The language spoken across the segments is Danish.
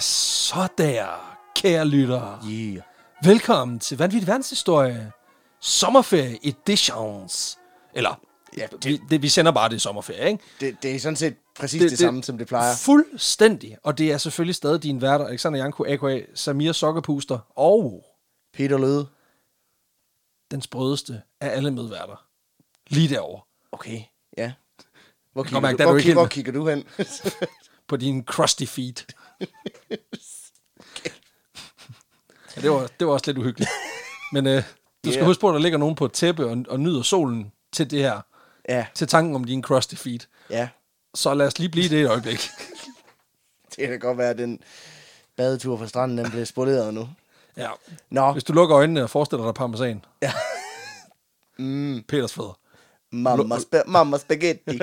så der, kære lyttere. Yeah. Velkommen til Vanvittig Verdenshistorie. Sommerferie editions. Eller, ja, det, det, vi sender bare det i sommerferie, ikke? Det, det er sådan set præcis det, det, det samme, som det plejer. Fuldstændig. Og det er selvfølgelig stadig din værter, Alexander Janko, a.k.a. Samir Sokkerpuster, og Peter Løde. den sprødeste af alle medværter. Lige derovre. Okay, ja. Hvor kan mærke, der kigger, du, er hvor, du ikke kigger, hvor henne. kigger du hen? På din crusty feet. ja, det, var, det var også lidt uhyggeligt. Men øh, du skal Yeah. huske på, at der ligger nogen på et tæppe og, og nyder solen til det her. ja, Til tanken om din crusty feet. ja. Så lad os lige blive i det et øjeblik. Det kan godt være, at den badetur fra stranden, den bliver spoleret nu. Ja. Nå, Hvis du lukker øjnene og forestiller dig parmesan. Ja. Mm. Peters fædre. mamma, spa- mamma spaghetti.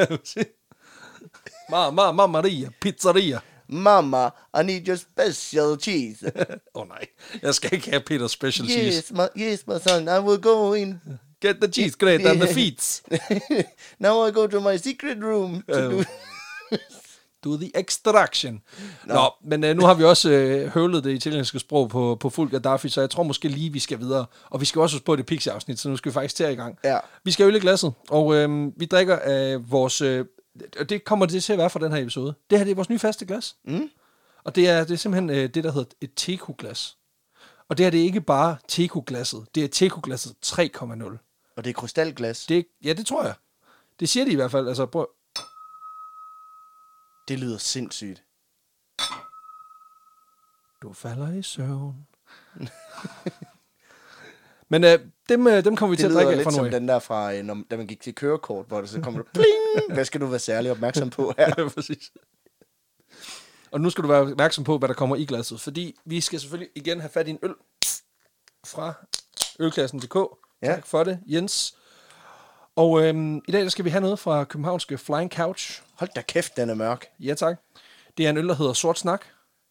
Ma, ma, ma, Maria. Pizzeria. Mamma, I need your special cheese. Åh oh, nej, jeg skal ikke have Peters special cheese. Yes, my, yes, my son, I will go in. Get the cheese grate and the feet. Now I go to my secret room. To do... Do the extraction. Nå, Nå men øh, nu har vi også øh, høvlet det italienske sprog på, på fuld Gaddafi, så jeg tror måske lige, vi skal videre. Og vi skal også huske på det Pixie-afsnit, så nu skal vi faktisk til at i gang. Ja. Vi skal øl i glasset, og øh, vi drikker af vores... Øh, og det kommer det til at være for den her episode. Det her det er vores nye faste glas. Mm. Og det er, det er simpelthen øh, det, der hedder et teku-glas. Og det her det er ikke bare teku-glasset, det er teku-glasset 3,0. Og det er krystalglas. Det, Det, ja, det tror jeg. Det siger de i hvert fald. Altså, prøv. det lyder sindssygt. Du falder i søvn. Men øh, dem, øh, dem kommer vi til Det at drikke lyder af fra lidt nu som af. den der fra, øh, når, da man gik til kørekort, hvor det så kommer der pling. Hvad skal du være særlig opmærksom på her? Ja, præcis. Og nu skal du være opmærksom på, hvad der kommer i glasset, fordi vi skal selvfølgelig igen have fat i en øl fra ølklassen.dk. Ja. Ja. Tak for det, Jens. Og øhm, i dag der skal vi have noget fra københavnske Flying Couch. Hold da kæft, den er mørk. Ja, tak. Det er en øl, der hedder Sort Snak.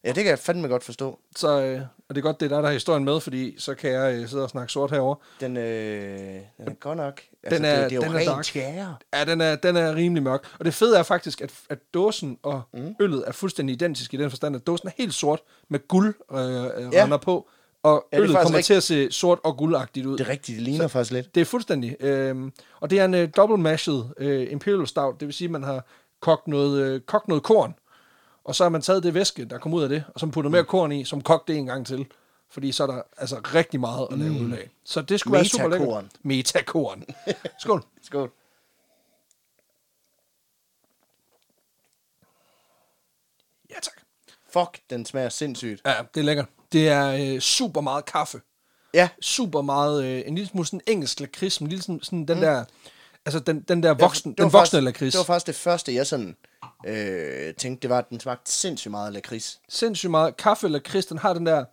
Ja, det kan jeg fandme godt forstå. Så, øh, og det er godt, det er dig, der har historien med, fordi så kan jeg øh, sidde og snakke sort herover. Den, øh, den er godt nok. Altså, Den er- det, det er den jo er rent dark. tjære. Ja, den er, den er rimelig mørk. Og det fede er faktisk, at, at dåsen og mm. øllet er fuldstændig identiske i den forstand, at dåsen er helt sort med guld øh, ja. Ja. render på, og Ja, ja, det er øllet faktisk kommer rigt- til at se sort og guldagtigt ud. Det er rigtigt, det ligner så... faktisk lidt. Det er fuldstændig. Øh, og det er en øh, double mashed øh, imperial stout, det vil sige, at man har kogt noget, øh, kogt noget korn, og så har man taget det væske, der kom ud af det, og så Mm. puttet mere korn i, som kogt det en gang til. Fordi så er der altså rigtig meget at lave ud af. Så det skulle være super lækkert. Mm. Metakorn. Metakorn. Skål. Skål. Ja, tak. Fuck, den smager sindssygt. Ja, det er lækkert. Det er øh, super meget kaffe. Ja, Super meget, øh, en lille smule sådan engelsk lakrids, men en lille sådan, sådan den der, altså den, den der voksen, den Mm. var voksne faktisk, lakrids. Det var faktisk det første, jeg sådan øh, tænkte, det var, at den smagte sindssygt meget af lakrids. Sindssygt meget kaffe lakrids, den har den der,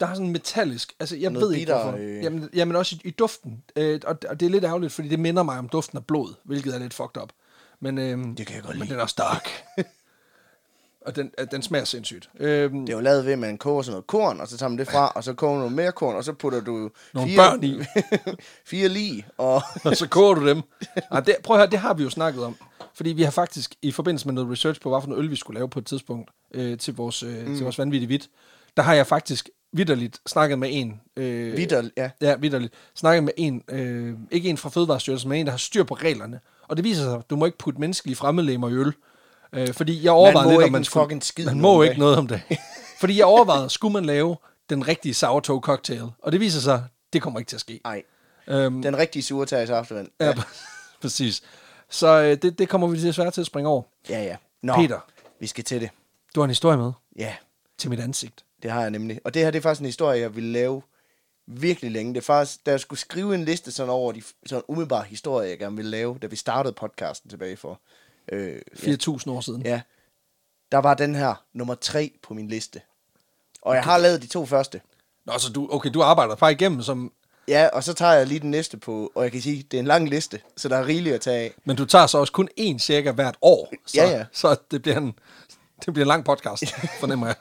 der har sådan en metallisk, altså jeg Noget ved ikke bitter, hvorfor. øh. Jamen, jamen også i, i duften, øh, og, og det er lidt ærgerligt, fordi det minder mig om duften af blod, hvilket er lidt fucked up. Men, øh, Det kan jeg godt men lide. den er også dark. og den, øh, den smager sindssygt. Øh, Det er jo lavet ved, at man koger sådan noget korn, og så tager man det fra, og så koger man noget mere korn, og så putter du Nogle børn i. fire lige, og og så koger du dem. Ej, det, prøv at høre, det har vi jo snakket om. Fordi vi har faktisk, i forbindelse med noget research på, hvad for noget øl vi skulle lave på et tidspunkt øh, til, vores, øh, mm. til vores vanvittige hvidt, der har jeg faktisk vidderligt snakket med en... Øh, Vitter, ja. Ja, vidderligt. Snakket med en, øh, ikke en fra Fødevarestyrelsen, men en, der har styr på reglerne. Og det viser sig, at du må ikke putte menneskelige fremmedlemmer i øl. Øh, fordi jeg overvejede må lidt, om ikke man en skulle... fucking skid man nu må om ikke dagen. noget om det. fordi jeg overvejede, skulle man lave den rigtige sourdough cocktail? Og det viser sig, det kommer ikke til at ske. Ej, Øhm, den rigtige surtags aftervand. Ja, præcis. Så øh, det, det kommer vi desværre til at springe over. Ja, ja. Nå, Peter. vi skal til det. Du har en historie med Ja, til mit ansigt. det har jeg nemlig. Og det her, det er faktisk en historie, jeg ville lave virkelig længe. Det er faktisk, da jeg skulle skrive en liste sådan over de sådan umiddelbare historier, jeg gerne ville lave, da vi startede podcasten tilbage for øh, ja, 4.000 år siden. Ja. Der var den her nummer tre på min liste. Og jeg har lavet de to første. Nå, så du, okay, du arbejder bare igennem, som, Ja, og så tager jeg lige den næste på, og jeg kan sige, det er en lang liste, så der er rigeligt at tage af. men du tager så også kun én cirka hvert år. Så, Ja, ja. så det, bliver en, det bliver en lang podcast, fornemmer jeg.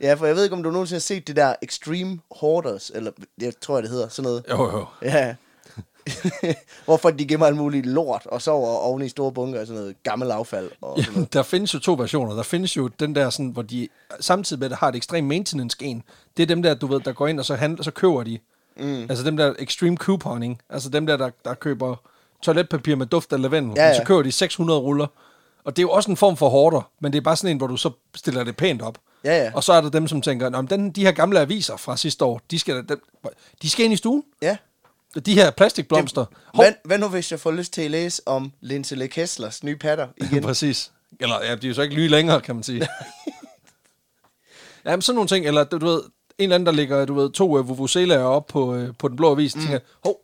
Ja, for jeg ved ikke, om du nogensinde har set det der Extreme Hoarders, eller jeg tror, det hedder sådan noget. Jo, jo. Ja. Hvorfor de gemmer alt muligt lort og sover oven i store bunker og sådan noget gammel affald. Og sådan Jamen, noget. der findes jo to versioner. Der findes jo den der, sådan, hvor de samtidig med, at har et ekstrem maintenance-gen. Det er dem der, du ved, der går ind, og så, handler, så køber de. Mm. Altså dem der extreme couponing. Altså dem der, der, der køber toiletpapir med duft af lavendel. Ja, Ja, ja. ja. Så køber de 600 ruller. Og det er jo også en form for hårder, men det er bare sådan en, hvor du så stiller det pænt op. Ja, ja. Og så er der dem, som tænker, Nå, men den, de her gamle aviser fra sidste år, de skal, da- dem, de skal ind i stuen. Ja. De her plastikblomster. Hov. Hvad, hvad nu, hvis jeg får lyst til at læse om Lindsay Kesslers nye patter igen? Præcis. Eller ja, de er jo så ikke lyge længere, kan man sige. Jamen sådan nogle ting, eller du du ved, en eller anden, der ligger, du ved, to uh, vuvuzelaer op på, uh, på den blå avis, mm. tænker, hov,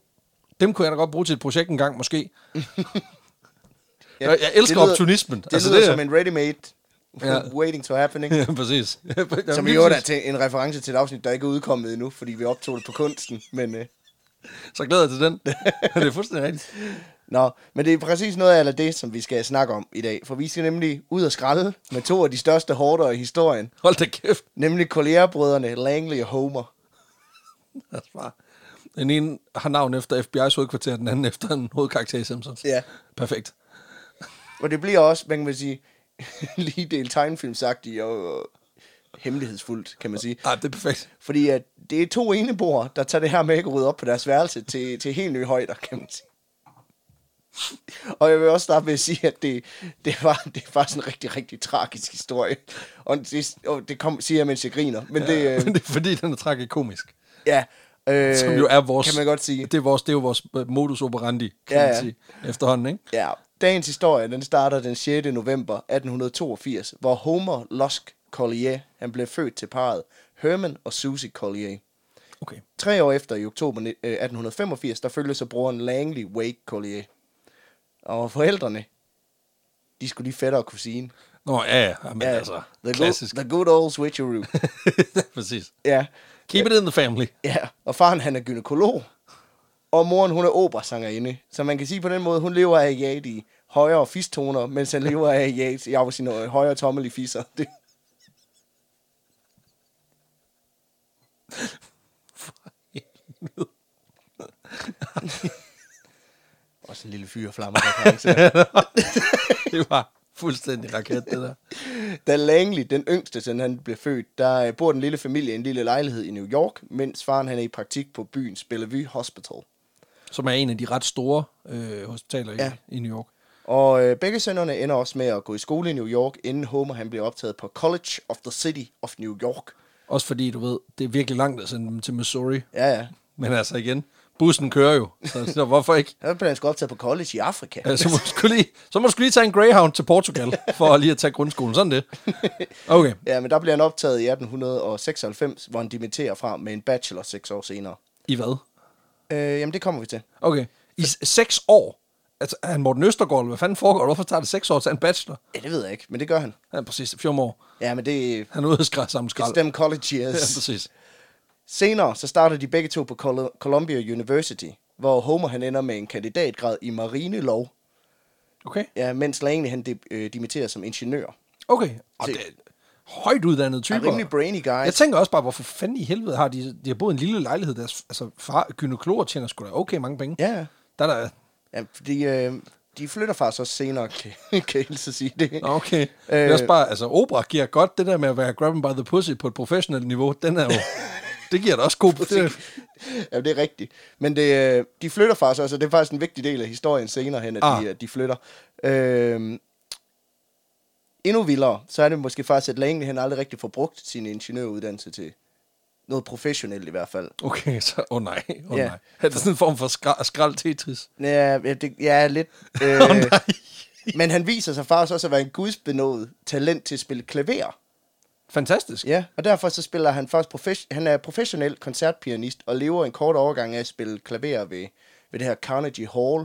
dem kunne jeg da godt bruge til et projekt engang, måske. Jeg- jeg elsker det lyder- opportunismen. Det Altså, lyder det det er- som en ready-made Ja. waiting to happening. ja, præcis. Jamen, Som i lige øvrigt er præcis. til en reference til et afsnit, der ikke er udkommet endnu, fordi vi optog det på kunsten. Men, øh, Så glæder jeg til den. det er fuldstændig rigtigt. nå, men det er præcis noget af det, som vi skal snakke om i dag. For vi skal nemlig ud og skralde med to af de største hårdere i historien. Hold da kæft. Nemlig kollegerbrødrene Langley og Homer. Altså, bare. Den ene har navn efter FBI's hovedkvarter, den anden efter en hovedkarakter i Simpsons. Ja. Perfekt. Og det bliver også, man kan sige, lige del tegnefilmsagtigt og, og hemmelighedsfuldt, kan man sige. Ej, det er perfekt. Fordi at det er to eneboer, der tager det her med at rydde op på deres værelse til, til helt nye højder, kan man sige. Og jeg vil også starte med at sige, at det, det, var, det er faktisk en rigtig, rigtig tragisk historie. Og det, og det kom, siger jeg, mens jeg griner. Men det, Ja, øh, men det er fordi, den er tragikomisk. ja, øh, Som jo er vores... Kan man godt sige. Det er, vores, det er jo vores øh, modus operandi, kan Ja, ja, man ja. sige, efterhånden, ikke? Ja, dagens historie, den starter den 6. november 1882, hvor Homer Lusk Collier, han blev født til parret Herman og Susie Collier. Okay. Tre år efter, i oktober ni- øh, 1885, der følger så broren Langley Wake Collier. Og forældrene, de skulle lige fætter og kusine. Nå, ja, ja, men ja, altså, the, good, klassisk. the good old switcheroo. Præcis. ja, Keep it in the family. ja. Og faren, han er gynækolog. Og moren, hun er operasangerinde. Så man kan sige på den måde, hun lever af at jage de højere fistoner, mens han lever af at jage jeg vil sige, noget, højere tommel i fisser. Det, også en lille fyr flammer. reference. Det var fuldstændig raket, det der. Da Langley, den yngste, siden han blev født, der øh, bor den lille familie i en lille lejlighed i New York, mens faren han er i praktik på byens Bellevue Hospital. Som er en af de ret store øh, hospitaler Ja. ja. i, i New York. Og øh, begge sønnerne ender også med at gå i skole i New York, inden Homer han bliver optaget på College of the City of New York. Også fordi, du ved, det er virkelig langt at sende dem til Missouri. Ja, ja. Men altså igen, bussen kører jo, så, så hvorfor ikke? Så bliver han sgu optaget på college i Afrika. Ja, Så må, du skulle lige, så må du skulle lige tage en Greyhound til Portugal, for lige at tage grundskolen. Sådan det. Okay. Ja, men der bliver han optaget i 1896, hvor han dimitterer fra med en bachelor seks år senere. I hvad? Øh, jamen, det kommer vi til. Okay. I s- seks år? Altså, er han Morten Østergaard, eller hvad fanden foregår? der? Hvorfor tager det seks år til en bachelor? Ja, det ved jeg ikke, men det gør han. Han er præcis 14 år. Ja, men det er... Han er ude at skræde sammen skrald. It's them college Ja, years. præcis. Senere så starter de begge to på Col- Columbia University, hvor Homer han ender med en kandidatgrad i marinelov, Okay. ja, mens Langley han de- øh, dimitterer som ingeniør. Okay. Og det er højt uddannede typer. Er rimelig brainy guy. Jeg tænker også bare, hvorfor fanden i helvede har de... De har boet i en lille lejlighed. Deres altså, far, gynekologer tjener sgu da okay mange penge. Ja, Der er der... ja fordi, øh, de flytter faktisk også senere, kan, kan jeg hilse at sige det. Nå, okay. Øh... Det er også bare... Altså, opera giver godt det der med at være grabbing by the pussy på et professionelt niveau. Den er jo... det giver da også god... Det, Ja, det er rigtigt. Men det, øh, de flytter faktisk også, og det er faktisk en vigtig del af historien senere hen, at ah. Ah. de, at de flytter. Øh, endnu vildere, så er det måske faktisk, at Langley han aldrig rigtig får brugt sin ingeniøruddannelse til noget professionelt i hvert fald. okay, så... Åh oh, nej. Åh oh, Ja. nej. Er det sådan en form for skra- skrald Tetris? Ja, ja, det, ja lidt. Øh, Åh oh, nej. men han viser sig faktisk også at være en gudsbenået talent til at spille klaver. Fantastisk. Ja, og derfor så spiller han faktisk profes- han er professionel koncertpianist og lever en kort overgang af at spille klaver ved, ved det her Carnegie Hall.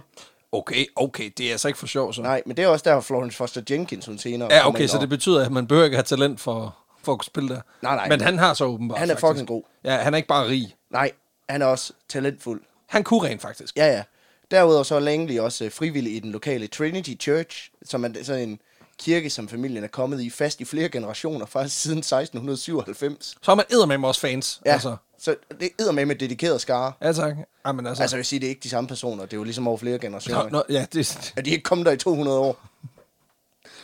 Okay, okay. Det er altså ikke for sjov, så. Nej, men det er også der, hvor Florence Foster Jenkins hun senere. Ja, kom okay, ind så og- det betyder, at man behøver ikke have talent for, for at kunne spille der. Nej, nej. Men han har så åbenbart Han er faktisk. fucking god. Ja, han er ikke bare rig. Nej, han er også talentfuld. Han kunne rent faktisk. Ja, ja. Derudover så er Langley også øh, frivillig i den lokale Trinity Church, som er sådan en kirke, som familien er kommet i fast i flere generationer, faktisk siden 1697. Så er man eddermame også fans. Ja, Altså. altså. så det er med dedikeret skare. Ja, tak. Jamen, altså. Altså, jeg vil sige, det er ikke de samme personer, det er jo ligesom over flere generationer. nå, Nå, nå, ja, det, Er de ikke kommet der i 200 år?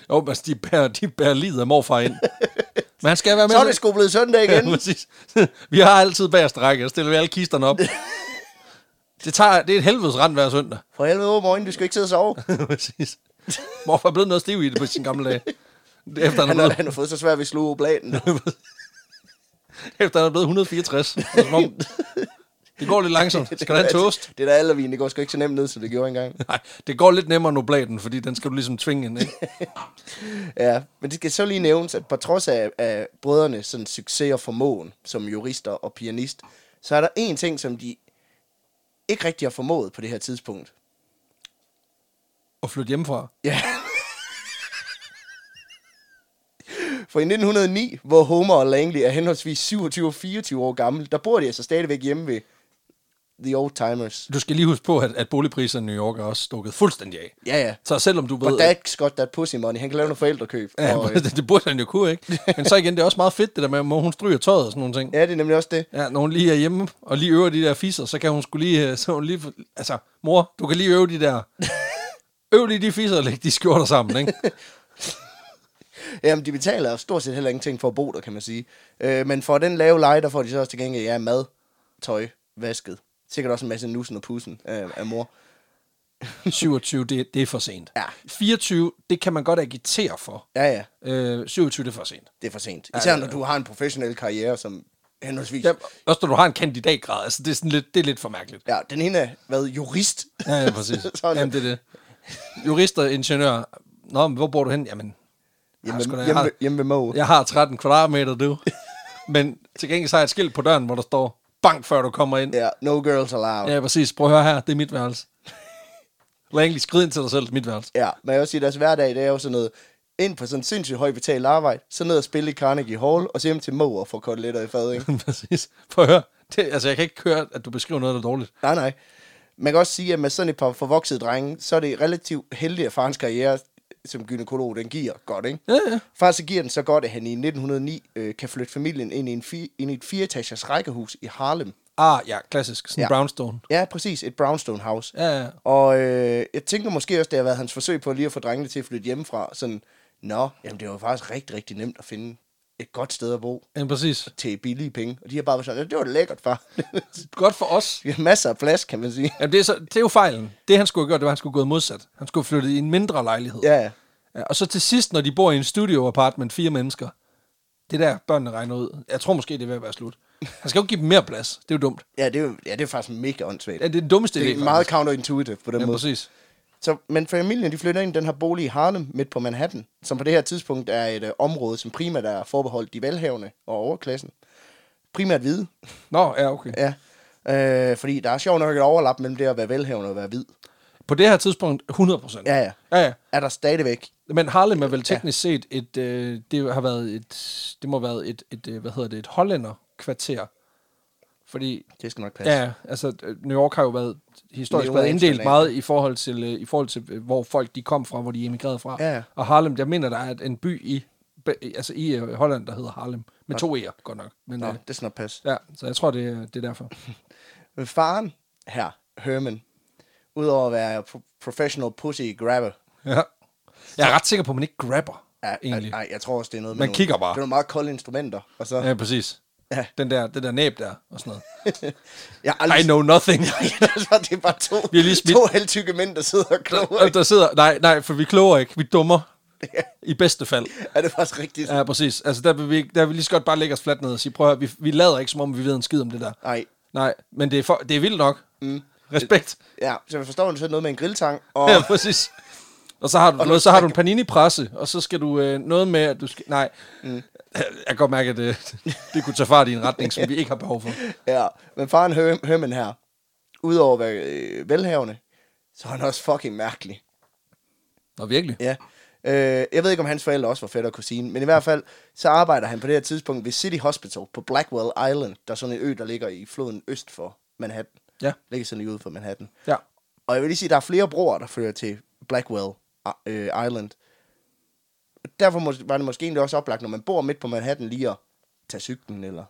jo, altså, de bærer, de bærer livet af morfar ind. Men han skal være med. Så er til- det sgu blevet søndag igen. Ja, præcis. Vi har altid bagerst række, og stiller vi alle kisterne op. Det, tager, det er et helvedes rand hver søndag. For helvede, åben øjne, du skal ikke sidde og sove. præcis. Morfar er blevet noget stiv i det på sin gamle dag. Efter han, er Han har, blevet, han har fået så svært ved at sluge oblaten. efter han er blevet 164. Det, er som om, det går lidt langsomt. Skal du have en toast? Det der aldervin, det går sgu ikke så nemt ned, som det gjorde engang. Nej, det går lidt nemmere end oblaten, fordi den skal du ligesom tvinge ind. Ikke? Ja, men det skal så lige nævnes, at på trods af, af brødrenes sådan, succes og formåen som jurister og pianist, så er der en ting, som de ikke rigtig har formået på det her tidspunkt. Og flytte hjemmefra. Ja. For i 1909, hvor Homer og Langley er henholdsvis 27 og 24 år gamle, der bor de altså stadigvæk hjemme ved The Old Timers. Du skal lige huske på, at, at boligpriserne i New York er også stukket fuldstændig af. Ja, ja. Så selvom du ved... But that Scott, that pussy money, han kan lave noget forældrekøb. Ja, og, øh, det, det burde han jo kunne, ikke? Men så igen, det er også meget fedt, det der med, hvor hun stryger tøjet og sådan nogle ting. ja, det er nemlig også det. Ja, når hun lige er hjemme og lige øver de der fisser, så kan hun skulle lige, øh, så hun lige, altså, mor, du kan lige øve de der, øv lige de fisser og læg de skjorter sammen, ikke? Jamen, de betaler jo stort set heller ingenting for at bo der, kan man sige. Øh, men for den lave leje, der får de så også til gengæld, ja, mad, tøj, vasket. Sikkert også en masse nussen og pussen af, af mor. 27, det, det er for sent. Ja. 24, det kan man godt agitere for. Ja, ja, Øh, 27, det er for sent. det er for sent. Især når du har en professionel karriere, som henholdsvis... Ja, Yep. også når du har en kandidatgrad, altså det er, sådan lidt, det er lidt for mærkeligt. Ja, den ene er været jurist. Ja, ja præcis. Sådan. Jamen, det er det. Jurister, ingeniører, nå, men hvor bor du hen? Jamen, Hjemme, sgu da, hjemme, hjemme, hjemme ved Moe. Jeg har 13 kvadratmeter, du. Men til gengæld så har jeg et skilt på døren, hvor der står, bank før du kommer ind. Ja, no girls allowed. Ja, præcis. Prøv at høre her, det er mit værelse. Lad egentlig skride ind til dig selv, det er mit værelse. Ja, men jeg vil også sige, at deres hverdag, det er jo sådan noget, ind på sådan en sindssygt højt betalt arbejde, så ned og spille i Carnegie Hall, og så hjem til Moe og få koteletter i fadet, ikke? præcis. Prøv at høre. Det, altså, jeg kan ikke høre, at du beskriver noget, der er dårligt. Nej, nej. Man kan også sige, at med sådan et par forvoksede drenge, så er det relativt heldigt, at farens karriere som gynekolog, den giver godt, ikke? Ja, ja. Far så giver den så godt, at han i 1909 øh, kan flytte familien ind i, en fi, ind i et fireetagers rækkehus i Harlem. Ah, ja, klassisk. Sådan ja. Ja. brownstone. Ja, præcis. Et brownstone house. Ja, ja. Og øh, jeg tænker måske også, det har været hans forsøg på lige at få drengene til at flytte hjemmefra. Sådan, nå, jamen det var jo faktisk rigtig, rigtig nemt at finde et godt sted at bo Ja, præcis. til billige penge. Og de har bare været sådan, det var da lækkert, far. Godt for os. Vi har masser af plads, kan man sige. Jamen, det, er så, det er jo fejlen. Det, han skulle have gjort, det var, at han skulle have gået modsat. Han skulle have flyttet i en mindre lejlighed. Ja, ja. Ja, Og så til sidst, når de bor i en studio apartment, fire mennesker. Det er der, børnene regner ud. Jeg tror måske, det er ved at være slut. Han skal jo ikke give dem mere plads. Det er jo dumt. Ja, det er, jo- ja, det er faktisk mega åndssvagt. Ja, det er den dummeste Det er idé, meget counterintuitive på den Ja, måde. præcis. Så, men familien de flytter ind i den her bolig i Harlem, midt på Manhattan, som på det her tidspunkt er et øh, område, som primært er forbeholdt de velhavende og overklassen. Primært hvide, Nå, ja, okay. ja. Øh, fordi der er sjovt nok et overlap mellem det at være velhavende og være hvid. På det her tidspunkt, 100 procent. Ja, ja. ja, ja. Er der stadigvæk. Men Harlem er vel teknisk set et, øh, det har været et, det må have været et, et øh, hvad hedder det, et hollænderkvarter. kvarter. Fordi, Det skal nok passe. ja, altså øh, New York har jo været historisk New været Amsterdam. inddelt meget i forhold til, øh, i forhold til øh, hvor folk de kom fra, hvor de emigrerede fra. Ja, ja. Og Harlem, jeg mener, der er en by i, be- altså i øh, Holland, der hedder Harlem. Med to E'er, godt nok. Men, Nå, øh, det skal nok passe. ja, så jeg tror, det, er- det er derfor. Men Faren her, Herman, udover at være pro- professional pussy grabber, Ja. Jeg er ret sikker på, at man ikke grabber, er, egentlig. er, ej, jeg tror også, det er noget med Man nogle- kigger bare. Det er nogle meget kolde instrumenter, og så... Ja, præcis. Ja. Den der, den der næb der, og sådan noget. Jeg har I aldrig know nothing. altså, det er bare to, Vi har lige smidt- to halvtykke mænd, der sidder og kloger. Og Øh, der sidder, nej, nej, for vi kloger ikke, vi dummer. I bedste fald. Er det faktisk rigtigt? Ja, præcis. Altså, der vil vi, ikke- der vil vi lige så godt bare lægge os fladt ned og sige, prøv at høre, vi, vi lader ikke, som om vi ved en skid om det der. Nej. Nej, men det er, for, det er vildt nok. Mm. Respekt. Ja, så jeg forstår, at du sagde noget med en grilltang. Og, Ja, præcis. Og så har du, noget, så har du en panini-presse, og så skal du øh, noget med, at du skal... Nej, mm. jeg kan godt mærke, at det, det kunne tage fart i en retning, som vi ikke har behov for. ja, men faren Her- Herman her, udover at være øh, velhavende, så er han også fucking mærkelig. Nå, virkelig. Ja. Øh, jeg ved ikke, om hans forældre også var fætter og kusine, men i hvert fald, så arbejder han på det her tidspunkt ved City Hospital på Blackwell Island, der er sådan en ø, der ligger i floden øst for Manhattan. Ja. Ligger sådan lige ude for Manhattan. Ja. Og jeg vil lige sige, at der er flere broer, der fører til Blackwell øh, Island. derfor mås- var det måske egentlig også oplagt, når man bor midt på Manhattan, lige at tage cyklen eller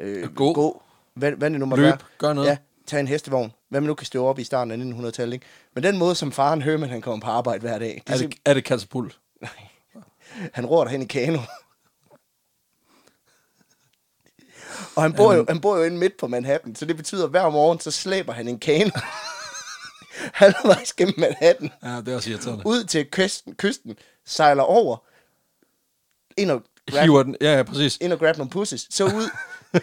øh, Gå. gå. Hvad, hvad det nu må Løb. være. Gør noget. Ja, tag en hestevogn. Hvad man nu kan stå op i starten af 1900-tallet. Ikke? Men den måde, som faren Herman, han kommer på arbejde hver dag. Det Er er det, er det katapult? simp- han ror derhen i kano. Og han bor, jo, han bor jo inde midt på Manhattan, så det betyder, at hver morgen, så slæber han en kano. Halvvejs gennem Manhattan. Ja, det er også irriterende. ud til kysten, kysten sejler over, ind og grab, Hiver den. Ja, ja, præcis. ind og grab nogle pussies, så ud,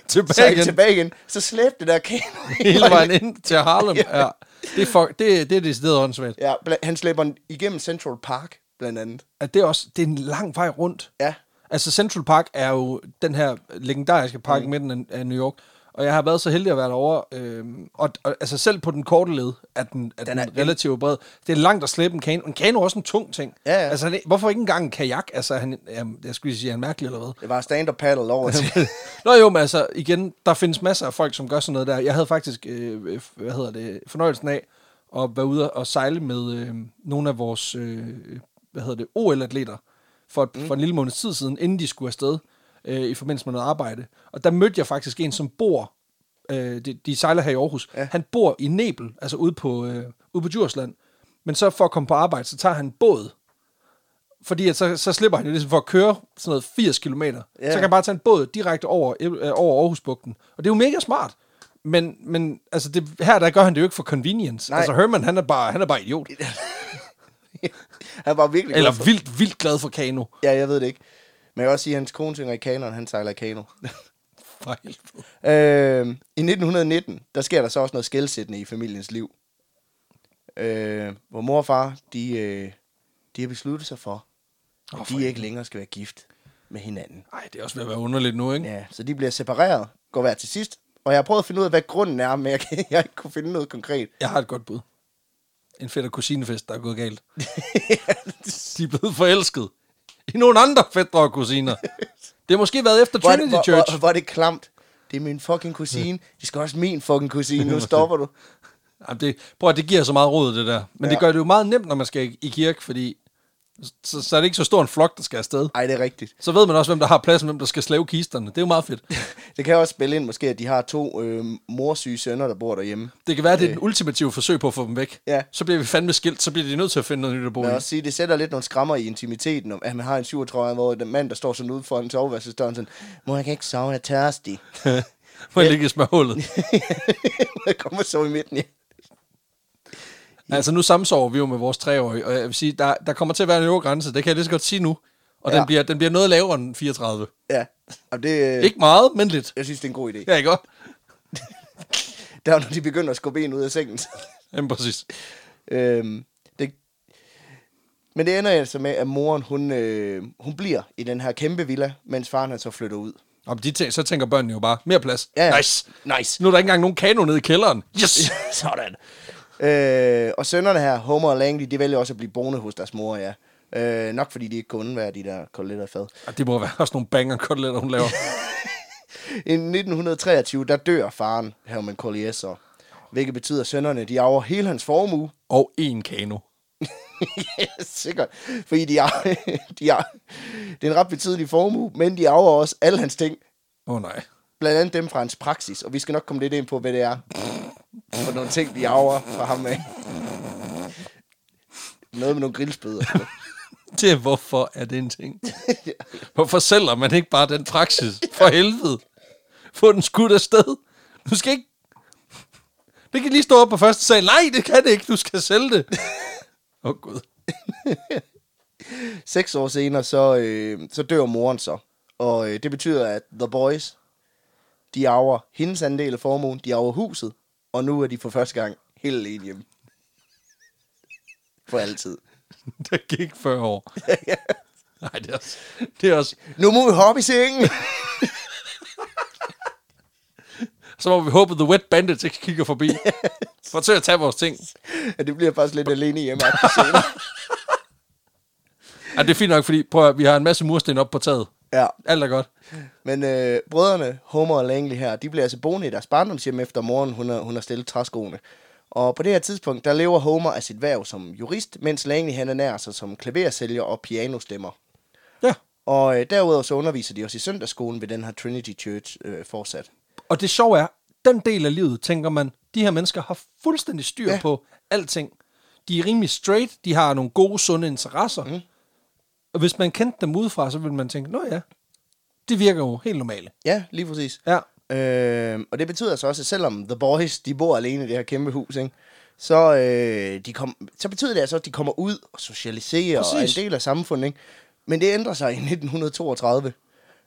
Tilbage sejler igen. tilbage igen, så slæb det der kano. Hele vejen ind til Harlem. Ja. Det er, for, det, det er decideret åndssvagt. Ja, bla- han slæber den igennem Central Park, blandt andet. At det, er også, det er en lang vej rundt. Ja. Altså Central Park er jo den her legendariske park mm. i midten af, af New York. Og jeg har været så heldig at være derovre. Øhm, og, og, altså selv på den korte led er den, er den, er- den relativt bred. Det er langt at slæbe en kano. En kano er også en tung ting. Ja, ja. Altså, han- hvorfor ikke engang en kajak? Altså, er han, jamen, jeg skulle lige sige, er han mærkelig eller hvad? Det var stand-up paddle over til. Nå jo, men altså, igen, der findes masser af folk, som gør sådan noget der. Jeg havde faktisk, øh, øh, hvad hedder det, fornøjelsen af at være ude og sejle med øh, nogle af vores, øh, hvad hedder det, OL-atleter for, mm. for en lille måneds tid siden, inden de skulle afsted øh, i forbindelse med noget arbejde. Og der mødte jeg faktisk en, som bor, øh, de, de sejler her i Aarhus, ja. han bor i Nebel, altså ude på, øh, ude på Djursland. Men så for at komme på arbejde, så tager han en båd, fordi at så, så slipper han jo ligesom for at køre sådan noget 80 km. Yeah. Så kan han bare tage en båd direkte over, øh, over Aarhusbugten. Og det er jo mega smart. Men, men altså det, her der gør han det jo ikke for convenience. Nej. Nej. Altså Herman, han er bare, han er bare idiot. han var virkelig glad Eller for- vildt, vildt glad for kano. Ja, jeg ved det ikke. Men jeg vil også sige, at hans kone synger i kanoen, han sejler i kano. For helvede. Øh, I 1919, der sker der så også noget skældsættende i familiens liv. Øh, hvor mor og far, de, øh, de har besluttet sig for, at Åh, oh, for de ikke længere skal være gift med hinanden. Ej, det er også ved at være underligt nu, ikke? Ja, så de bliver separeret, går hver til sidst. Og jeg har prøvet at finde ud af, hvad grunden er, men jeg, kan, jeg ikke kunne finde noget konkret. Jeg har et godt bud. En fætter kusinefest, der er gået galt. De er blevet forelsket. I nogle andre fætter og kusiner. Det har måske været efter Hvor er det, Trinity hvor, Church. hvor, hvor er det klamt. Det er min fucking kusine. Det skal også min fucking kusine. Nu stopper du. Jamen det, prøv at det giver så meget råd, det der. Men ja. Ja. det gør det jo meget nemt, når man skal i- i kirke, fordi så, så er det ikke så stor en flok, der skal afsted. Ej, det er rigtigt. Så ved man også, hvem der har pladsen, hvem der skal slæve kisterne. Det er jo meget fedt. Det kan også spille ind måske, at de har to øh, morsyge sønner, der bor derhjemme. Det kan være, det er den ultimative forsøg på at få dem væk. Ja. Så bliver vi fandme skilt, så bliver de nødt til at finde noget nyt at bo Jeg i. vil også sige, det sætter lidt nogle skrammer i intimiteten, om at man har en 37 hvor den mand, der står sådan ude for en soveværelsesdør, sådan, mor, jeg kan ikke sove, jeg er tørstig. Må jeg ligge i smørhullet. jeg kommer så i midten, ja. Altså nu samsover vi jo med vores treårige, og jeg vil sige, der, der kommer til at være en øvre grænse, det kan jeg lige så godt sige nu. Og ja. Ja. den, bliver, den bliver noget lavere end 34. ja. Og det, øh, Ikke meget, men lidt. jeg synes, det er en god idé. Ja, ikke godt? Der er, når de begynder at skubbe en ud af sengen. Jamen præcis. øhm, det, men det ender altså med, at moren, hun, øh, hun bliver i den her kæmpe villa, mens faren han så flytter ud. Om de tæ- så tænker børnene jo bare, mere plads. Ja, ja. Nice. Nice. Nu er der ikke engang nogen kano nede i kælderen. Yes! Sådan. Øh, og sønnerne her, Homer og Langley, de vælger også at blive boende hos deres mor, ja. Øh, nok fordi de ikke kunne undvære de der koteletter og fad. Og det må være også nogle banger koteletter, hun laver. I 1923, der dør faren, Herman Collier så. Hvilket betyder, at sønnerne, de arver hele hans formue. og en kano. yes, sikkert. Fordi de arver, de arver, det er en ret betydelig formue, men de arver også alle hans ting. Åh oh, nej. Blandt andet dem fra hans praksis, og vi skal nok komme lidt ind på, hvad det er. For nogle ting, de arver fra ham af. Noget med nogle grillspøder. Det er, hvorfor er det en ting? Hvorfor sælger man ikke bare den praksis? For helvede. Få den skudt afsted. Du skal ikke... Det kan lige stå op på første sal. Nej, det kan det ikke. Du skal sælge det. Åh oh, gud. Seks år senere, så, øh, så dør moren så. Og øh, det betyder, at The Boys, de arver hendes andel af formuen, de arver huset, og nu er de for første gang helt alene hjemme. For altid. Der gik 40 år. Nej, det er også... Det er også Nu må vi hoppe i sengen! så må vi håbe, at The Wet Bandits ikke kigger forbi. Forsøg at tage vores ting. ja, det bliver faktisk lidt alene hjemme. aften senere. Ja, det er fint nok, fordi prøv at, høre, vi har en masse mursten op på taget. ja, Alt er godt. men øh, brødrene, Homer og Langley her, de bliver altså boende i deres barndomshjem efter morgen, hun har, hun har stillet træskoene. Og på det her tidspunkt, der lever Homer af sit værv som jurist, mens Langley han ernærer sig som klaversælger og pianostemmer. Ja. Og øh, derudover så underviser de også i søndagsskolen ved den her Trinity Church øh, fortsat. Og det sjove er, den del af livet, tænker man, de her mennesker har fuldstændig styr ja. Ja. på alting. De er rimelig straight, de har nogle gode, sunde interesser. Mm. Og hvis man kendte dem udefra, så ville man tænke, nå ja, det virker jo helt normale. Ja, lige præcis. Ja. Øh, og det betyder så også, at selvom The Boys, de bor alene i det her kæmpe hus, ikke? Så, øh, de kom, så betyder det altså, at de kommer ud og socialiserer og er en Præcis. del af samfundet. Ikke? Men det ændrer sig i 1932,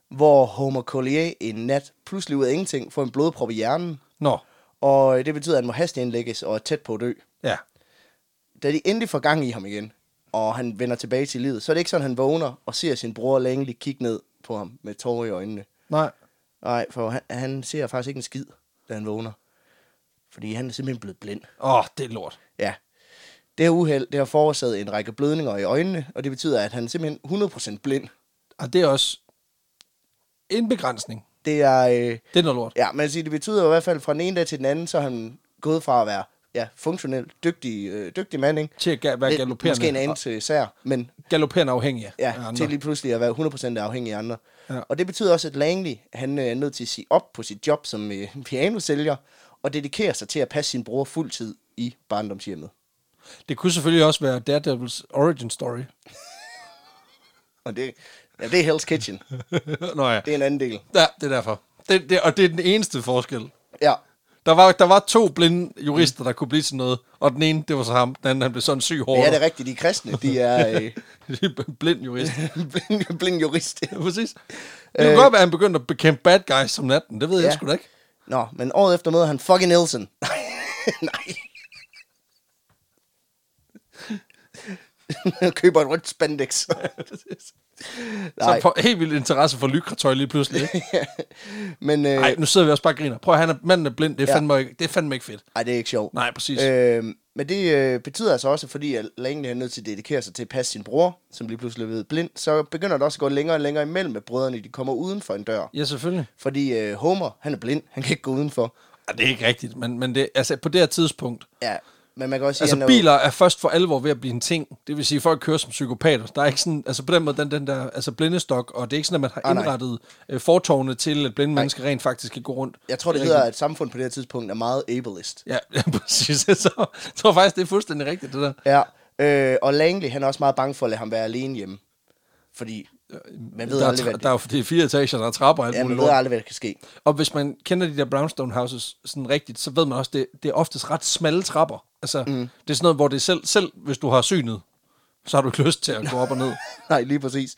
hvor Homer Collier en nat pludselig ud af ingenting får en blodprop i hjernen. Nå, Og øh, det betyder, at han må hasteindlægges og er tæt på at dø. ja. Da de endelig får gang i ham igen, og han vender tilbage til livet, så er det ikke sådan, at han vågner og ser sin bror længeligt kigge ned på ham med tårer i øjnene. Nej. Nej, for han, han ser faktisk ikke en skid, da han vågner. Fordi han er simpelthen blevet blind. Åh, det er lort. Ja. Det her uheld, det har forårsaget en række blødninger i øjnene, og det betyder, at han er simpelthen 100% blind. Og det er også en begrænsning. Det er, øh, Det er noget lort. ja, man siger, det betyder i hvert fald fra den ene dag til den anden, så er han gået fra at være ja, funktionel, dygtig, øh, dygtig mand, ikke? Til at ga- være Lidt- galopperende. Måske en anelse sær, men Galopperende afhængig ja, af andre. til lige pludselig at være 100% afhængig af andre. Ja. Ja. Og det betyder også, at Langley, han øh, er nødt til at sige op på sit job som øh, pianosælger, og dedikerer sig til at passe sin bror fuldtid i barndomshjemmet. Det kunne selvfølgelig også være Daredevils origin story. Og det, ja, det er Hell's Kitchen. Nå ja. Det er en anden del. Ja, det er derfor. Det, det, og det er den eneste forskel. Ja, Der var, der var to blinde jurister, Mm. der kunne blive sådan noget, og den ene, det var så ham, den anden, han blev sådan syg ja det hårdt. er rigtigt. De er kristne, de er øh, blind jurist. blind, blind jurist. Ja, præcis. Det kunne godt være, at han begyndte at bekæmpe bad guys som natten. Det ved jeg Øh. Ja. sgu da ikke. Nå, men året efter møder han fucking Nielsen. Nej. Køber et rødt spandex. så Nej. får helt vildt interesse for lykretøj lige pludselig. Men, øh, Nej, nu sidder vi også bare og griner. Prøv at han er, manden er blind. Det er, Ja. fandme ikke, det er fandme ikke fedt. Ej, det er ikke sjovt. Nej, præcis. Øh, men det øh, betyder altså også, fordi at Langley er nødt til at dedikere sig til at passe sin bror, som lige pludselig er blevet blind, så begynder det også at gå længere og længere imellem, at brødrene de kommer uden for en dør. Ja, selvfølgelig. Fordi øh, Homer, han er blind, han kan ikke gå udenfor. Ja, det er ikke rigtigt, men, men det, altså, på det her tidspunkt. Ja, men man kan også sige, Altså, han er jo- biler er først for alvor ved at blive en ting. Det vil sige, at folk kører som psykopater. Der er ikke sådan, altså på den måde, den, den der altså blindestok, og det er ikke sådan, at man har Ah, nej. indrettet øh, fortovene til, at blinde nej. mennesker rent faktisk kan gå rundt. Jeg tror, det hedder, at samfundet på det her tidspunkt er meget ableist. Ja, ja præcis. Så jeg tror faktisk, det er fuldstændig rigtigt, det der. Ja, øh, og Langley, han er også meget bange for at lade ham være alene hjemme. Fordi man ved der, aldrig, er, hvad tra- det, der er jo det er fire etager, der er trapper og alt ja, man muligt ved lort. aldrig, hvad der kan ske. Og hvis man kender de der brownstone houses sådan rigtigt, så ved man også, det, det er oftest ret smalle trapper. Altså, mm. det er sådan noget, hvor det er selv, selv hvis du har synet, så har du ikke lyst til at gå op og ned. Nej, lige præcis.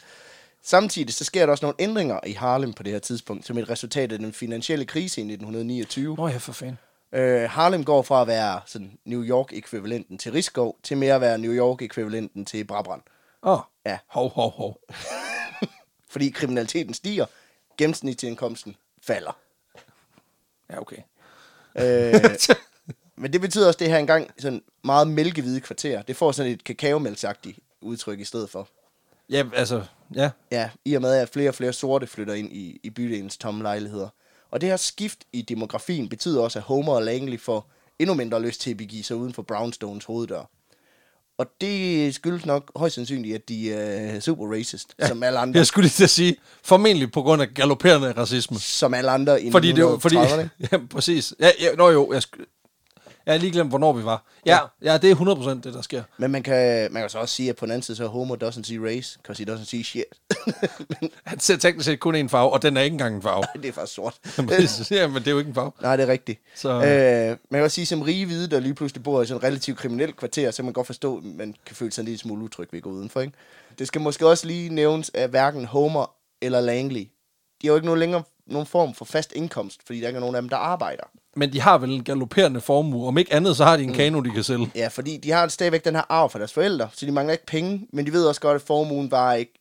Samtidig så sker der også nogle ændringer i Harlem på det her tidspunkt, som et resultat af den finansielle krise i 1929. Nå ja, for fanden. Øh, Harlem går fra at være sådan, New York-ekvivalenten til Rigskov, til mere at være New York-ekvivalenten til Brabrand. Åh, oh. Ja. hov, hov, hov. Fordi kriminaliteten stiger, gennemsnitsindkomsten falder. Ja, okay. Øh, men det betyder også, at det her engang sådan meget mælkehvide kvarter, det får sådan et kakaomælksagtigt udtryk i stedet for. ja, altså, ja. Ja, i og med, at flere og flere sorte flytter ind i, i bydelens tomme lejligheder. Og det her skift i demografien betyder også, at Homer og Langley får endnu mindre lyst til at begive sig uden for Brownstones hoveddør. Og det skyldes nok højst sandsynligt, at de er super racist, ja, som alle andre. Jeg skulle lige til at sige, formentlig på grund af galopperende racisme. Som alle andre i Fordi det var, fordi, 1930'erne. ja, præcis. Ja, ja, nå jo, jeg, sk- jeg har lige glemt, hvornår vi var. Ja, ja, det er 100% det, der sker. Men man kan, man kan så også sige, at på den anden side, så er Homer doesn't see race, because he doesn't see shit. Men Han ser teknisk set kun en farve, og den er ikke engang en farve. det er faktisk sort. ja, men det er jo ikke en farve. Nej, det er rigtigt. Så- Så... Øh, man kan også sige, som rige hvide, der lige pludselig bor i sådan et relativt kriminelt kvarter, så kan man godt forstå, at man kan føle sig en lille smule utryg ved at gå udenfor. Ikke? Det skal måske også lige nævnes, at hverken Homer eller Langley, de har jo ikke nogen længere nogen form for fast indkomst, fordi der ikke er nogen af dem, der arbejder. Men de har vel en galopperende formue. Om ikke andet, så har de en Mm. kano, de kan sælge. Ja, fordi de har stadigvæk den her arv fra deres forældre, så de mangler ikke penge, men de ved også godt, at formuen var ikke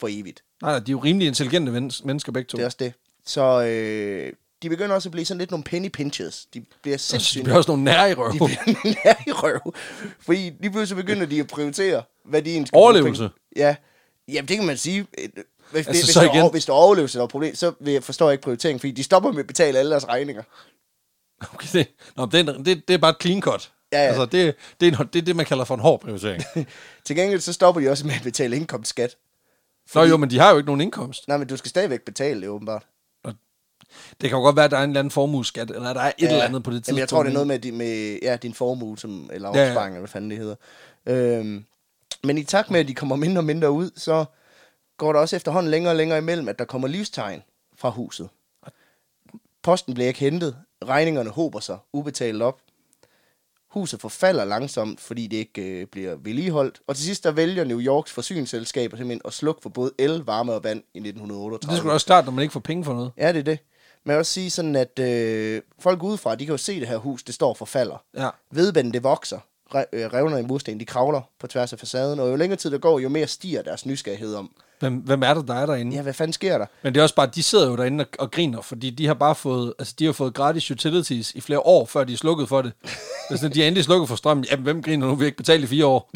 for evigt. Nej, nej, de er jo rimelig intelligente men- mennesker begge to. Det er også det. Så øh, de begynder også at blive sådan lidt nogle penny pinches. De bliver de sindssygt bliver også nogle nære i De røven. bliver nær i røv. Fordi lige pludselig begynder de at prioritere, hvad de egentlig skal Overlevelse. bruge penge- Ja. Jamen, det kan man sige. Et- Hvis, Altså, altså, hvis, så der, igen- igen... hvis der er overlevelse, der er et problem, så vil jeg- forstår jeg ikke prioriteringen, fordi de stopper med at betale alle deres regninger. Okay, det, nå, det, er en- det, det er bare et clean cut. Ja, ja. Altså, det, det, er en, det er det, man kalder for en hård prioritering. Til gengæld så stopper de også med at betale indkomstskat. Fordi... Nå jo, men de har jo ikke nogen indkomst. Nej, men du skal stadigvæk betale det, åbenbart. Det kan jo godt være, at der er en eller anden formueskat, eller der er et ja, eller andet på det tidspunkt. Jamen, jeg tror, det er noget med, din- med ja, din formue, som, eller Ja, ja. opsparing, ja, ja. eller hvad fanden det hedder. Øhm, men i takt med, at de kommer mindre og mindre ud, så går der også efterhånden længere og længere imellem, at der kommer livstegn fra huset. Posten bliver ikke hentet, regningerne hober sig ubetalt op. Huset forfalder langsomt, fordi det ikke øh, bliver vedligeholdt. Og til sidst der vælger New Yorks forsyningsselskaber simpelthen at slukke for både el, varme og vand i 1938. Det skulle da også starte, når man ikke får penge for noget. Ja, det er det. Men jeg vil også sige sådan, at øh, folk udefra, de kan jo se det her hus, det står for falder. Ja. Vedbænden, det vokser. Re- øh, revnerne i mursten, de kravler på tværs af facaden. Og jo længere tid der går, jo mere stiger deres nysgerrighed om. Hvem, hvem er det, der er derinde? Ja, hvad fanden sker der? Men det er også bare, de sidder jo derinde og, og griner, fordi de har bare fået, altså de har fået gratis utilities i flere år, før de er slukket for det. Hvis de er endelig slukket for strømmen, jamen hvem griner nu, vi har ikke betalt i fire år.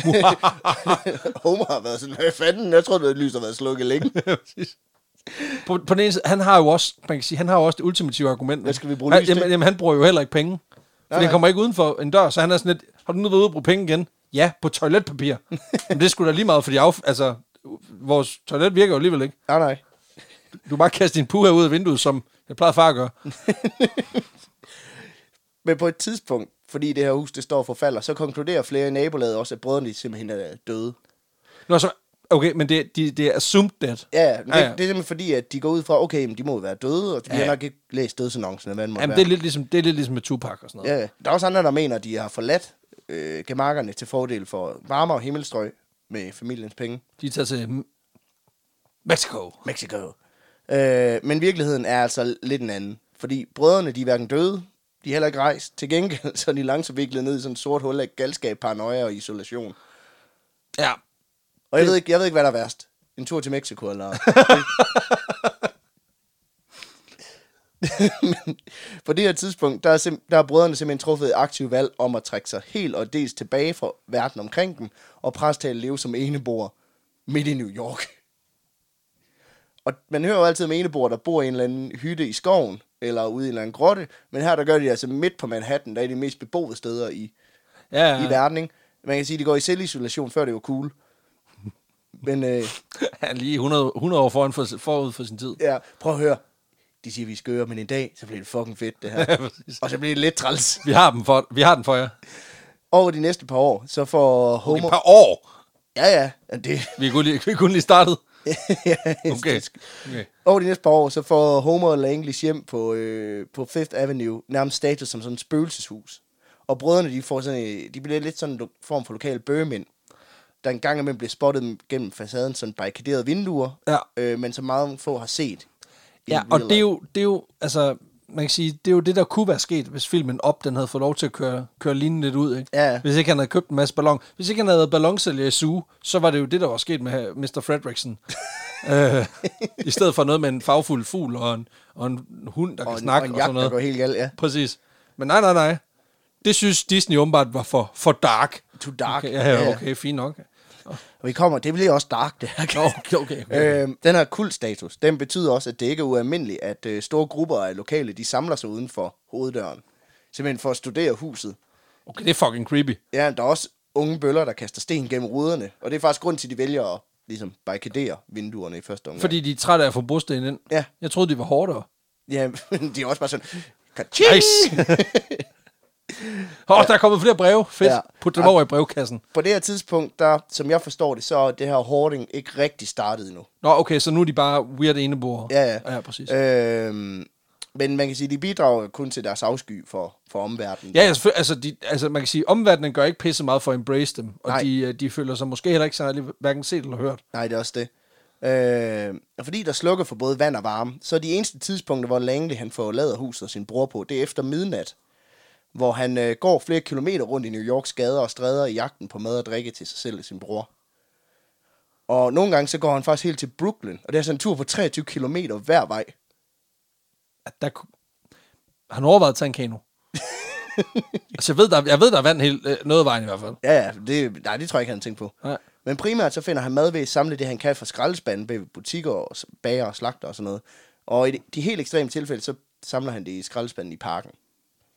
Homer har været sådan, hvad fanden? Jeg tror, det lys har været slukket længe. på, på den ene side, han har jo også, man kan sige, han har jo også det ultimative argument. Hvad skal vi bruge han, lys til? jamen, jamen, han bruger jo heller ikke penge. For Nej. han kommer ikke uden for en dør, så han er sådan lidt, har du nu været ude at bruge penge igen? Ja, på toiletpapir. Men det skulle da lige meget, fordi af, altså, vores toilet virker jo alligevel ikke. nej, nej. Du kan bare kaste din puha ud af vinduet, som jeg plejede far at gøre. Men på et tidspunkt, fordi det her hus, det står for falder, så konkluderer flere i nabolaget også, at brødrene de simpelthen er døde. Nå, så, okay, men det, de, det er assumed dead. Ja, men Ja, det, ja. det, er simpelthen fordi, at de går ud fra, okay, men de må jo være døde, og de Ja. har nok ikke læst dødsannoncen, eller hvad det måtte Jamen, være. det er, lidt ligesom, det er lidt ligesom med Tupac og sådan noget. Ja, ja. der er også andre, der mener, at de har forladt øh, gemakkerne til fordel for varmere himmelstrøg med familiens penge. De tager til M- Mexico. Mexico. Øh, men virkeligheden er altså lidt en anden. Fordi brødrene, de er hverken døde, de er heller ikke rejst. Til gengæld, så er de langsomt viklet ned i sådan et sort hul af galskab, paranoia og isolation. Ja. Og jeg ved ikke, jeg ved ikke hvad der er værst. En tur til Mexico, eller... Men på det her tidspunkt, der er, sim- der er brødrene simpelthen truffet et aktivt valg om at trække sig helt og dels tilbage fra verden omkring dem, og presse til at leve som eneboer midt i New York. Og man hører jo altid om eneboer, der bor i en eller anden hytte i skoven, eller ude i en eller anden grotte, men her der gør de det altså midt på Manhattan, der er de mest beboede steder i, Ja, i ja. verden. Ikke? Man kan sige, at de går i selvisolation, før det var cool. Men øh, Han er lige 100, 100 år foran for, forud for sin tid. ja, prøv at høre. De siger, vi er skøre, men en dag, så bliver det fucking fedt, det her. præcis. og så bliver det lidt træls. Vi har, dem for, vi har den for jer. Over de næste par år, så får Okay, Homer... et par år. Ja, ja, det... Vi er kun lige, vi er kun lige startet. ja, Okay. det- okay. Over de næste par år, så får Homer og Langley's hjem på, øh, på Fifth Avenue nærmest status som sådan et spøgelseshus. Og brødrene, de, får sådan, øh, de bliver lidt sådan en lo- form for lokale bøgemænd, der en gang imellem bliver spottet gennem facaden sådan barrikaderede vinduer, Ja. øh, men som meget få har set. i Ja, real og det er, life. jo, det er jo, altså, man kan sige, det er jo det, der kunne være sket, hvis filmen op, den havde fået lov til at køre, køre linjen lidt ud, ikke? Ja. Hvis ikke han havde købt en masse ballon. Hvis ikke han havde været ballonsælger i Zoo, så var det jo det, der var sket med øh, Mr. Fredriksen. øh, I stedet for noget med en fagfuld fugl og en, og en hund, der kan og en, snakke og en og jagt, sådan der noget. går helt galt, ja. Præcis. Men nej, nej, nej. Det synes Disney åbenbart var for, for dark. Too dark. Okay, ja, ja, okay, fint nok. Og vi kommer, det bliver også dark, det her. Nå, okay, okay, okay. Øhm, den her kultstatus, den betyder også, at det ikke er ualmindeligt, at øh, store grupper af lokale, de samler sig uden for hoveddøren. Simpelthen for at studere huset. Okay, det er fucking creepy. Ja, der er også unge bøller, der kaster sten gennem ruderne. Og det er faktisk grund til, at de vælger at ligesom, barrikadere vinduerne i første omgang. Fordi de er trætte af at få brosten ind. Ja. Jeg troede, de var hårdere. Ja, men de er også bare sådan... Kaching! Nice. Åh, oh, der er kommet flere breve. Fedt. Ja. Ja. Put dem over i brevkassen. På det her tidspunkt, der, som jeg forstår det, så er det her hoarding ikke rigtig startet endnu. Nå, okay, så nu er de bare weird eneboere. Ja, ja. Ja, præcis. Øh. Øhm, men man kan sige, at de bidrager kun til deres afsky for, for omverdenen. Ja, ja, selvfølgelig. altså, de, altså, man kan sige, omverdenen gør ikke pisse meget for at embrace dem, Nej. og de, øh, de føler sig måske heller ikke særlig hverken set eller hørt. Nej, det er også det. Øh, og fordi der slukker for både vand og varme, så er de eneste tidspunkter, hvor Langley han forlader huset og sin bror på, det er efter midnat, hvor han øh, går flere kilometer rundt i New Yorks gader og stræder i jagten på mad og drikke til sig selv og sin bror. Og nogle gange så går han faktisk helt til Brooklyn, og det er sådan en tur på 23 km hver vej. At der kunne... Han overvejede at tage en kano. altså, jeg ved, der, jeg ved, der er vand helt, øh, noget af vejen i hvert fald. Ja, ja, det, nej, det tror jeg ikke, han tænkte på. Nej. Men primært så finder han mad ved at samle det, han kan fra skraldespanden ved butikker, og s- bager og slagter og sådan noget. Og i de, de helt ekstreme tilfælde, så samler han det i skraldespanden i parken.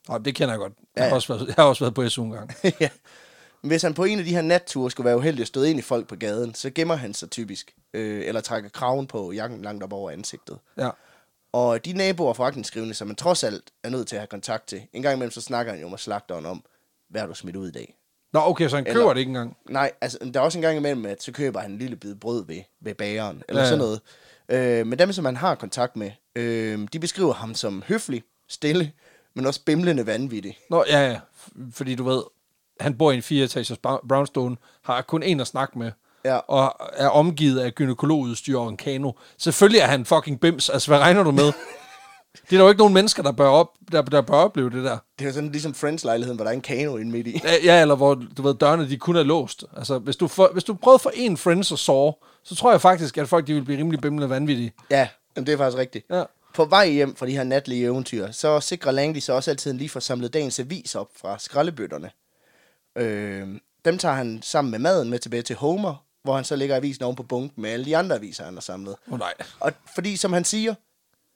Nå, det kender jeg godt. Jeg har, også været, jeg har også været på SU en gang. ja. Hvis han på en af de her natture skulle være uheldig at støde ind i folk på gaden, så gemmer han sig typisk, øh, eller trækker kraven på jakken langt op over ansigtet. Ja. Og de naboer fra agtenskrivende, som man trods alt er nødt til at have kontakt til, en gang imellem så snakker han jo med slagteren om, hvad har du smidt ud i dag? Nå, okay, så han køber Eller- Eller... det ikke engang. Nej, altså, der er også en gang imellem, at så køber han en lille bid brød ved, ved bageren, eller Ja, ja. ja. sådan noget. Øh, men dem, som han har kontakt med, øh, de beskriver ham som høflig, stille, men også bimlende vanvittig. Nå, ja, ja. F- Fordi du ved, han bor i en fireetagers ba- brownstone, har kun en at snakke med, Ja. og er omgivet af gynekologudstyr og en kano. Selvfølgelig er han fucking bims. Altså, hvad regner du med? det er der jo ikke nogen mennesker, der bør, op, der, der bør opleve det der. Det er jo sådan ligesom Friends-lejligheden, hvor der er en kano inde midt i. Ja, Ja, eller hvor, du ved, dørene de kun er låst. Altså, hvis du, for, hvis du prøvede for en Friends at sove, så tror jeg faktisk, at folk de ville blive rimelig bimlende vanvittige. Ja, jamen, det er faktisk rigtigt. Ja. På vej hjem fra de her natlige eventyr, så sikrer Langley sig også altid lige for samlet dagens avis op fra skraldebøtterne. Øh, dem tager han sammen med maden med tilbage til Homer, hvor han så lægger avisen oven på bunken med alle de andre aviser, han har samlet. Åh oh, nej. Og fordi, som han siger,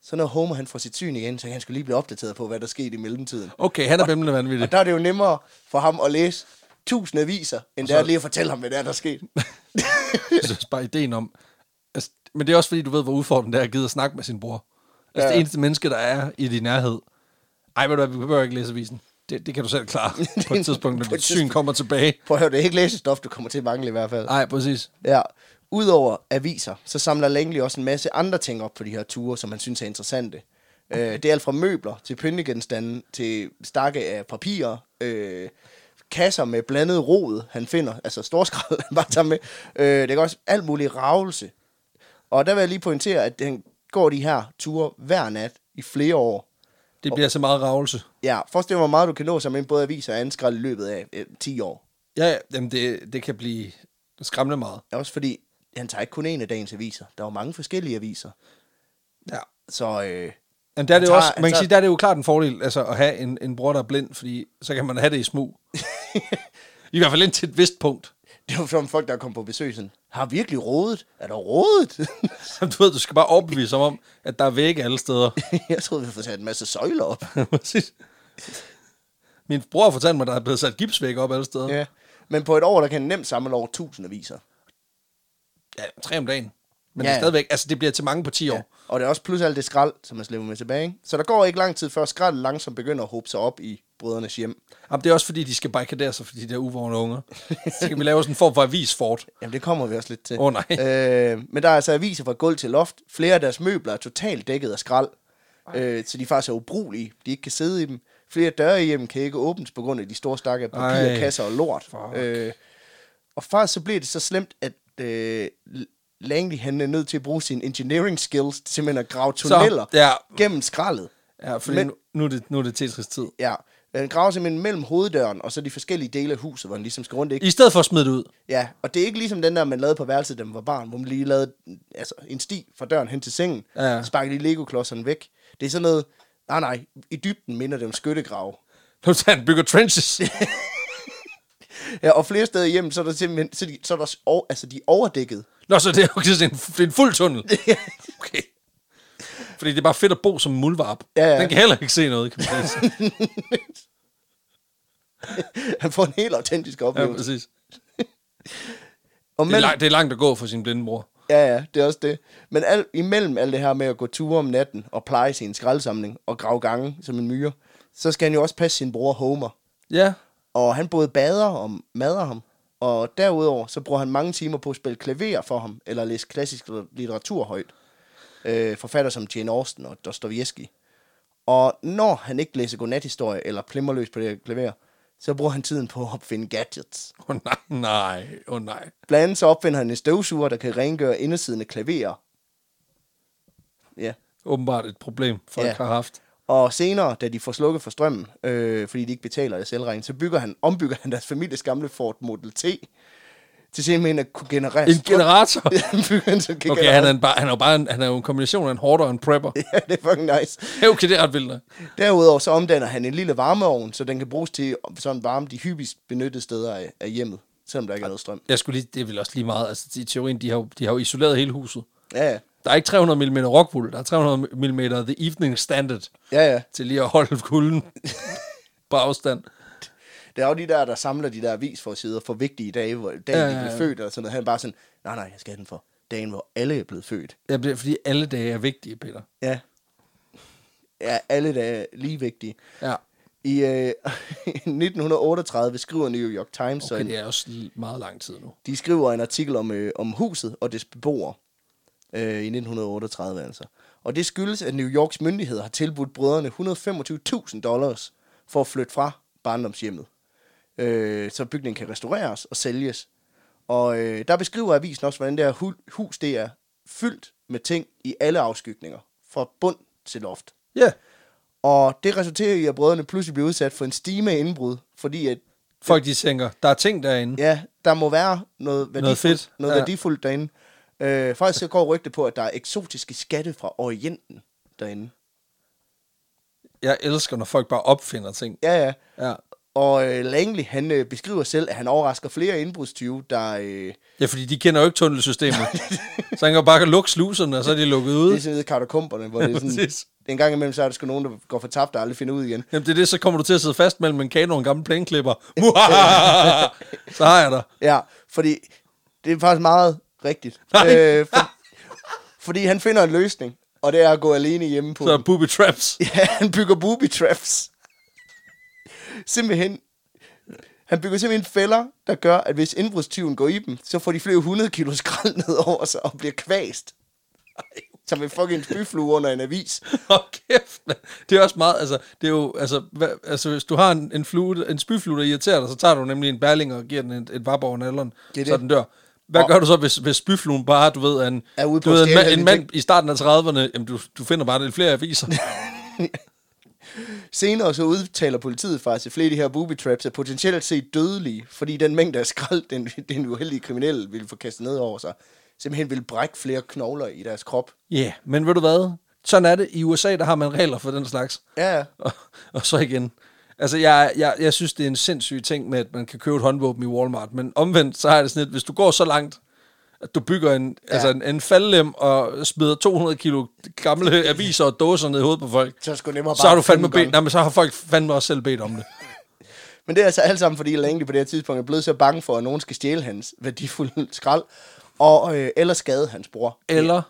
så når Homer han får sit syn igen, så kan han skulle lige blive opdateret på, hvad der skete i mellemtiden. Okay, han er bimlende vanvittig. Og der er det jo nemmere for ham at læse tusind aviser, end så- det er lige at fortælle ham, hvad der er, der skete. Jeg synes bare ideen om... Altså, men det er også fordi, du ved, hvor udfordrende det er at gide at snakke med sin bror. Altså Ja. ja. det eneste menneske, der er i din nærhed. Ej, ved du hvad, vi behøver ikke læse avisen. Det, det kan du selv klare på et tidspunkt, når På et dit syn kommer tilbage. Prøv at høre, det er ikke læsestof, du kommer til at mangle i hvert fald. Nej, præcis. Ja. Udover aviser, så samler Langley også en masse andre ting op på de her ture, som han synes er interessante. Øh, det er alt fra møbler til pyntegenstande til stakke af papirer, øh, kasser med blandet rod, han finder, altså storskrald, han bare tager med. Øh, det er også alt muligt ravelse. Og der vil jeg lige pointere, at han går de her ture hver nat i flere år. Det bliver så meget ravelse. Ja, forestil dig, hvor meget du kan nå sig med både aviser og anden skrald i løbet af øh, 10 år. Ja, ja, jamen det, det kan blive skræmmende meget. Også fordi, han tager ikke kun en af dagens aviser. Der er jo mange forskellige aviser. Ja. Så øh, Jamen, der er det Han jo også, tager- man kan han sige, der er det jo klart en fordel altså, at have en, en bror, der er blind, fordi så kan man have det i smug. I hvert fald indtil et vist punkt. det var som folk, der kom på besøg, sådan, har virkelig rådet? Er der rådet? Du ved, du skal bare overbevise ham om, at der er vægge alle steder. jeg troede, vi havde fået sat en masse søjler op. Præcis. Min bror fortalte mig, at der er blevet sat gipsvæg op alle steder. Ja. ja. Men på et år, der kan han nemt samle over tusind aviser. ja tre om dagen. Men Ja, ja. det ja. er stadigvæk, altså det bliver til mange på 10 år. Ja. Og det er også plus alt det skrald, som man slæber med tilbage. Ikke? Så der går ikke lang tid, før skrald langsomt begynder at hobe sig op i brødrenes hjem. Jamen, det er også fordi, de skal barrikadere sig for de der uvågne unger. Så kan vi lave sådan en form for avisfort. Jamen, det kommer vi også lidt til. Åh, nej. Øh, men der er altså aviser fra gulv til loft. Flere af deres møbler er totalt dækket af skrald. Øh, så de faktisk er ubrugelige. De ikke kan sidde i dem. Flere døre i hjem kan ikke åbnes på grund af de store stakke af papir, Ej. kasser og lort. Fuck. Øh, og faktisk så bliver det så slemt, at øh, Langley han er nødt til at bruge sine engineering skills til simpelthen at grave tunneller ja. gennem skraldet. Ja, fordi Men- Men... nu, nu, er det, nu er det Tetris tid. Ja. øh, Han graver simpelthen mellem hoveddøren og så de forskellige dele af huset, hvor han ligesom skal rundt. Ikke? I stedet for at smide det ud. Ja, og det er ikke ligesom den der, man lavede på værelset, da man var barn, hvor man lige lavede altså, en sti fra døren hen til sengen, Ja. ja. sparkede lige legoklodserne væk. Det er sådan noget, nej nej, i dybden minder det om skyttegrave. Nu tager han bygger trenches. Ja, og flere steder hjemme, så er der simpelthen, så, er de, så er der, s- over, altså de er overdækket. Nå, så det er, okay, så det er en, det er en fuld tunnel. Okay. Fordi det er bare fedt at bo som en muldvarp. Ja, ja. Den kan heller ikke se noget, kan man sige. Han får en helt autentisk Ja, oplevelse. præcis. og Det er, mellem, langt, det er langt at gå for sin blinde bror. ja, ja, det er også det. Men al, imellem alt det her med at gå ture om natten og pleje sin skraldsamling og grave gange som en myre, så skal han jo også passe sin bror Homer. Ja, Og han både bader og mader ham. Og derudover, så bruger han mange timer på at spille klaver for ham, eller læse klassisk litteratur højt. Øh, forfatter som Jane Austen og Dostoyevsky. Og når han ikke læser godnathistorie eller plimmer løs på det her klaver, så bruger han tiden på at opfinde gadgets. Åh oh, nej, nej, åh oh, nej. Blandt andet så opfinder han en støvsuger, der kan rengøre indersiden af klaverer. Ja. Åbenbart et problem, folk Ja. ja. har haft. Og senere, da de får slukket for strømmen, øh, fordi de ikke betaler det selvregning, så bygger han, ombygger han deres families gamle Ford Model T til simpelthen at kunne generere En generator? Han bygger en, som kan Okay, han er, en, bare, han er jo bare en, han er jo en kombination af en hårder og en prepper. Ja, det er fucking nice. Ja, okay, det er ret vildt. nok. Derudover så omdanner han en lille varmeovn, så den kan bruges til sådan varme de hyppigst benyttede steder af, af hjemmet, selvom der ikke er noget strøm. Jeg skulle lige, det er vel også lige meget. Altså, i teorien, de har, jo- de har jo isoleret hele huset. Ja, ja. Der er ikke 300 mm rockwool, der er 300 mm The Evening Standard ja, ja. til lige at holde kulden på afstand. Der er jo de der, der samler de der avisforsider for vigtige dage, hvor dagen ja, Ja, de ja, blev ja. født og sådan noget. Han er bare sådan, nej, nej, jeg skal have den for dagen, hvor alle er blevet født. Ja, det er, fordi alle dage er vigtige, Peter. Ja. Ja, alle dage er lige vigtige. Ja, I øh, 1938 skriver New York Times, så okay, en, det er også l- meget lang tid nu. de skriver en artikel om, øh, om huset og dets beboere øh, i 1938 altså. Og det skyldes, at New Yorks myndigheder har tilbudt brødrene 125.000 dollars for at flytte fra barndomshjemmet. Øh, så bygningen kan restaureres og sælges. Og øh, der beskriver avisen også, hvordan det her hu- hus det er fyldt med ting i alle afskygninger, fra bund til loft. Ja, yeah. Og det resulterer i, at brødrene pludselig bliver udsat for en stime af indbrud, fordi at, folk de tænker, der er ting derinde. ja, der må være noget værdifuldt, noget fedt, noget ja. værdifuldt derinde. Øh, faktisk så går rygte på, at der er eksotiske skatte fra Orienten derinde. Jeg elsker, når folk bare opfinder ting. Ja, ja. Ja, Og øh, Langley, han øh, beskriver selv, at han overrasker flere indbrudstyve, der... Øh, ja fordi de kender jo ikke tunnelsystemet. så han kan jo bare lukke sluserne, og så er de lukket ud. det er sådan nede i katakomberne, hvor det er sådan... Præcis. en gang imellem, så er der sgu nogen, der går for tabt og aldrig finder ud igen. Jamen det er det, så kommer du til at sidde fast mellem en kano og en gammel plæneklipper. så har jeg dig. Ja, fordi det er faktisk meget rigtigt. Nej. Øh, for, fordi han finder en løsning, og det er at gå alene hjemme på Så er booby traps. Ja, han bygger booby traps. Simpelthen. Han bygger simpelthen fælder, der gør, at hvis indbrudstyven går i dem, så får de flere 100 kilo skrald ned over sig og bliver kvæst. Som en fucking spyflue under en avis. Hold kæft, mand. Det er også meget, altså, det er jo, altså, hvad, altså hvis du har en, en, flue, en spyflue, der irriterer dig, så tager du nemlig en berling og giver den et, et vap over nalderen, Det er så det. den dør. Hvad Og- gør du så, hvis, hvis spyfluen bare, du ved, er en, Er ude på du ved, at en, stjæle ma- alle en de mand ting. i starten af 30'erne, jamen du, du finder bare lidt flere aviser. Senere så udtaler politiet faktisk, at flere af de her booby traps er potentielt set dødelige, fordi den mængde af skrald, den, den uheldige kriminelle ville få kastet ned over sig, simpelthen ville brække flere knogler i deres krop. Ja, yeah, men ved du hvad? Sådan er det. I USA, der har man regler for den slags. Ja, ja. Og, og så igen. Altså, jeg, jeg, jeg synes, det er en sindssyg ting med, at man kan købe et håndvåben i Walmart, men omvendt, så har jeg det sådan lidt, hvis du går så langt, at du bygger en, ja. altså en, en faldlem og smider 200 kilo gamle aviser og dåser ned i hovedet på folk, Så skulle nemmere bare så har, du fandme fem gange. bedt, nej, men så har folk fandme også selv bedt om det. Men det er altså alt sammen, fordi Langley på det her tidspunkt er blevet så bange for, at nogen skal stjæle hans værdifulde skrald, og, øh, eller skade hans bror. Eller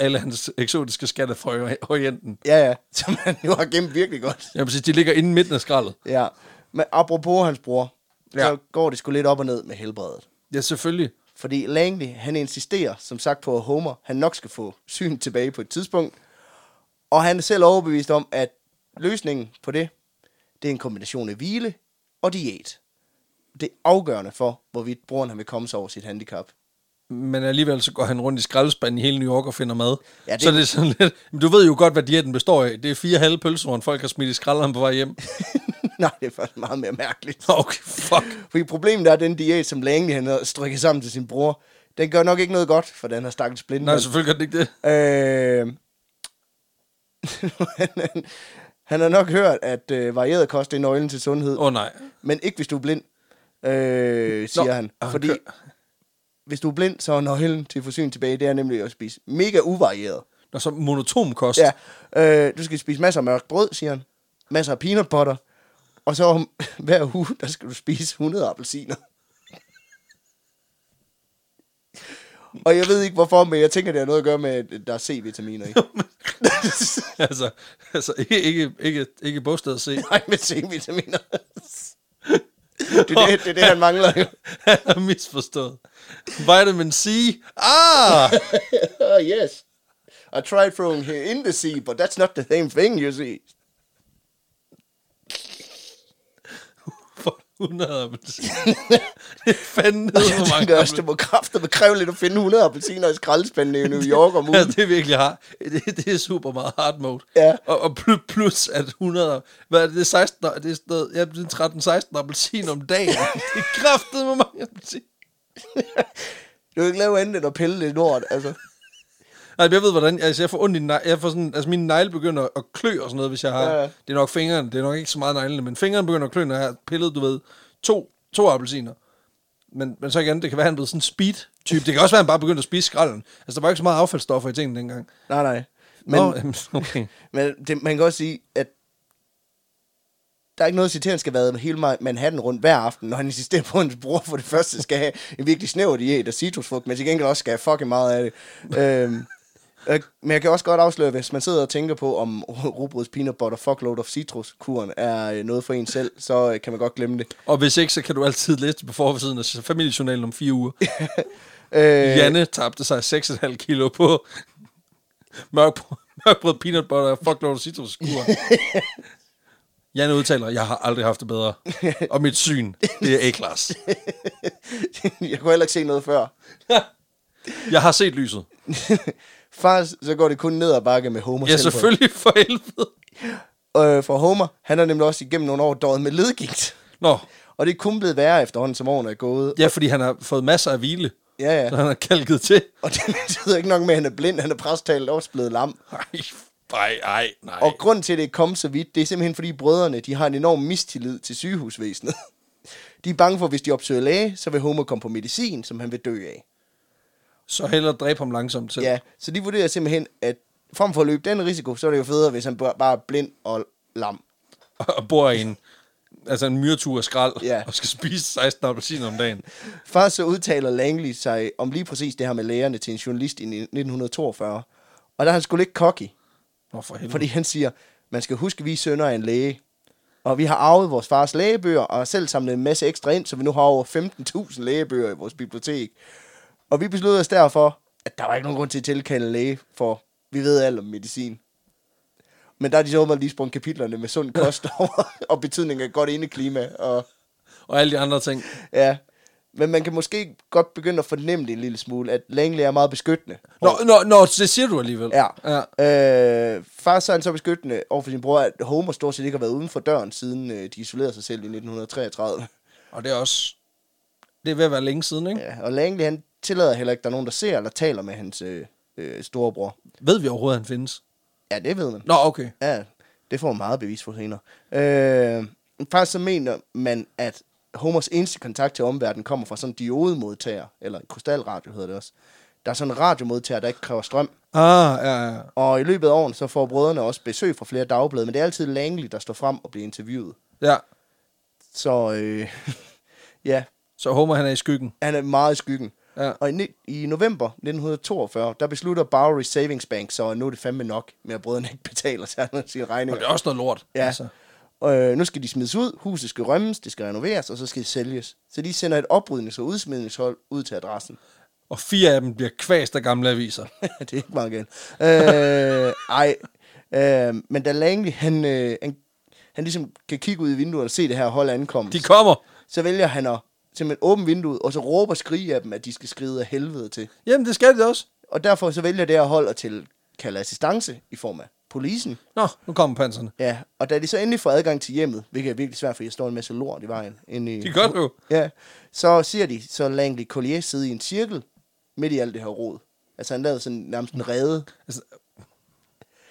alle hans eksotiske skatte fra Ori- Orienten. Ja, ja, som han jo har gemt virkelig godt. Jeg vil sige, de ligger inde i midten af skraldet. Ja, men apropos hans bror, ja. Ja. så går det sgu lidt op og ned med helbredet. Ja, selvfølgelig. Fordi Langley, han insisterer, som sagt, på at Homer, han nok skal få syn tilbage på et tidspunkt. Og han er selv overbevist om, at løsningen på det, det er en kombination af hvile og diæt. Det er afgørende for, hvorvidt broren han vil komme sig over sit handicap. men alligevel så går han rundt i skraldespanden i hele New York og finder mad. Ja, Ja, det- det... Så det er sådan lidt... Men du ved jo godt, hvad diæten består af. Det er fire halve pølsehorn, folk har smidt i skralderen på vej hjem. Nej, det er faktisk meget mere mærkeligt. Okay, fuck. Fordi problemet er, at den diæt, som Langley han har strikket sammen til sin bror, den gør nok ikke noget godt for den her stakkels blinde. Nej, mand. selvfølgelig gør det ikke det. Øh, han, han- han har nok hørt, at øh, varieret kost er nøglen til sundhed, Åh oh, nej. men ikke hvis du er blind, øh, siger Nå, han. ah, Fordi kør. hvis du er blind, så er nøglen til forsyning tilbage, det er nemlig at spise mega uvarieret. Nå, så monotom kost. Ja, øh, du skal spise masser af mørkt brød, siger han. Masser af peanut butter. Og så om hver uge, der skal du spise 100 appelsiner. Og jeg ved ikke hvorfor, men jeg tænker, det har noget at gøre med, at der er C-vitaminer i. altså, altså ikke, ikke, ikke, ikke bogstavet at se. Nej, med C-vitaminer. Det er det, det, er det han mangler jo. Han har misforstået. Vitamin C. Ah! Oh, yes. I tried throwing here in the sea, but that's not the same thing, you see. For 100 appelsiner. det er fandme nede, Jeg hvor mange tænker også, det må kræfte kræve lidt at finde 100 appelsiner i skraldespanden i New York om ugen. Altså, det er virkelig hard. Det, det er super meget hard mode. Ja. Og, og plus, plus at 100... Hvad er det? det er 16... og- Det er, sådan noget, ja, det er 13-16 appelsin om dagen. det er kraftet med mange appelsin. Du kan ikke lave andet end at pille det lort, altså. Nej, men jeg ved hvordan. Altså, jeg får ondt i nej, jeg får sådan, altså, mine negle begynder at klø og sådan noget, hvis jeg har... Ja, Ja, ja. ja. Det er nok fingrene. Det er nok ikke så meget neglene, men fingrene begynder at klø, når jeg har pillet, du ved, to, to appelsiner. Men, men så igen, det kan være, at han blev sådan en speed-type. Det kan også være, at han bare begyndte at spise skralden. Altså, der var ikke så meget affaldsstoffer i tingene dengang. Nej, nej. Men, Men, okay. men det, man kan også sige, at Der er ikke noget at sige til, at han skal være hele Ma- Manhattan rundt hver aften, når han insisterer på, at hans bror for det første skal have en virkelig snæver diæt af citrusfrugt, men til gengæld også skal have fucking meget af det. øhm, øh, men jeg kan også godt afsløre, hvis man sidder og tænker på, om rugbrøds peanut butter fuckload of citruskuren er øh, noget for en selv, så øh, kan man godt glemme det. Og hvis ikke, så kan du altid læse det på forsiden af familiejournalen om fire uger. Øh, Janne tabte sig 6,5 kilo på mørkbrød, mørkbrød peanut butter og fuckload citruskur. Janne udtaler, jeg har aldrig haft det bedre. Og mit syn, det er A-klass. jeg kunne heller ikke se noget før. Jeg har set lyset. Faktisk så går det kun ned ad bakke med Homer Ja, selv på. selvfølgelig for helvede. Øh, for Homer, han har nemlig også igennem nogle år døjet med ledgigt. Nå, Og det er kun blevet værre efterhånden, som årene er gået. ja, fordi han har fået masser af hvile. Ja, ja. Så han har kalket til. Og det betyder ikke nok med, at han er blind, han er præstalt også blevet lam. Ej, ej, ej, nej. Og grund til, at det er kommet så vidt, det er simpelthen, fordi brødrene de har en enorm mistillid til sygehusvæsenet. De er bange for, at hvis de opsøger læge, så vil Homer komme på medicin, som han vil dø af. Så hellere dræbe ham langsomt til. Ja, så de vurderer simpelthen, at frem for at løbe den risiko, så er det jo federe, hvis han bare bare er blind og lam. Og bor i en, altså en myretur af skrald. Ja. Og skal spise 16 appelsiner om dagen. Først så udtaler Langley sig om lige præcis det her med lægerne til en journalist i 1942. Og der er han skulle lidt cocky, Nå, for helvede. fordi han siger, man skal huske, at vi er sønner af en læge. Og vi har arvet vores fars lægebøger, og har selv samlet en masse ekstra ind, så vi nu har over 15.000 lægebøger i vores bibliotek. Og vi besluttede os derfor, at der var ikke nogen grund til at tilkalde en læge, for vi ved alt om medicin. Men der er de så åbenbart lige sprunget kapitlerne med sund kost over, og betydning af godt indeklima, og Og alle de andre ting. Ja, men man kan måske godt begynde at fornemme det en lille smule, at Langley er meget beskyttende. Nå, nå, nå, det siger du alligevel. Ja. ja. ja. Øh, faktisk så er han så beskyttende over for sin bror, at Homer stort set ikke har været uden for døren, siden øh, de isolerede sig selv i 1933. Og det er også... Det er ved at være længe siden, ikke? Ja. Ja, og Langley, han tillader heller ikke, at der er nogen, der ser eller taler med hans øh, øh, storebror. Ved vi overhovedet, at han findes? Ja, det ved man. Nå, okay. Ja, det får man meget bevis for senere. Øh, faktisk så mener man, at Homers eneste kontakt til omverdenen kommer fra sådan en diodemodtager, eller en krystalradio hedder det også. Der er sådan en radiomodtager, der ikke kræver strøm. Ah, ja, ja. Og i løbet af årene, så får brødrene også besøg fra flere dagblade, men det er altid Langley, der står frem og bliver interviewet. ja. Så øh, ja, Så Homer, han er i skyggen. han er meget i skyggen. Ja. Og i, ni- i november 1942, der beslutter Bowery Savings Bank, så nu er det fandme nok med, at brødrene ikke betaler sig sine Og det regninger. er også noget lort. altså. Ja. Og, øh, nu skal de smides ud, huset skal rømmes, det skal renoveres, og så skal det sælges. Så de sender et oprydnings- og udsmidningshold ud til adressen. Og fire af dem bliver kvast af gamle aviser. det er ikke meget galt. Øh, ej. Øh, men da Langley, han, øh, han, han ligesom kan kigge ud i vinduet og se det her hold ankomme, De kommer. så vælger han at simpelthen åbne vinduet, og så råber og skrige af dem, at de skal skride af helvede til. Jamen, det skal de også. Og derfor så vælger det her hold at tilkalde assistance i form af polisen. Nå, nu kommer panserne. Ja, og da de så endelig får adgang til hjemmet, hvilket er virkelig svært, for jeg står en masse lort i vejen. Inde i, De gør det jo. Ja, så ser de så Langley Collier sidde i en cirkel midt i alt det her rod. Altså han lavede sådan nærmest en rede Altså,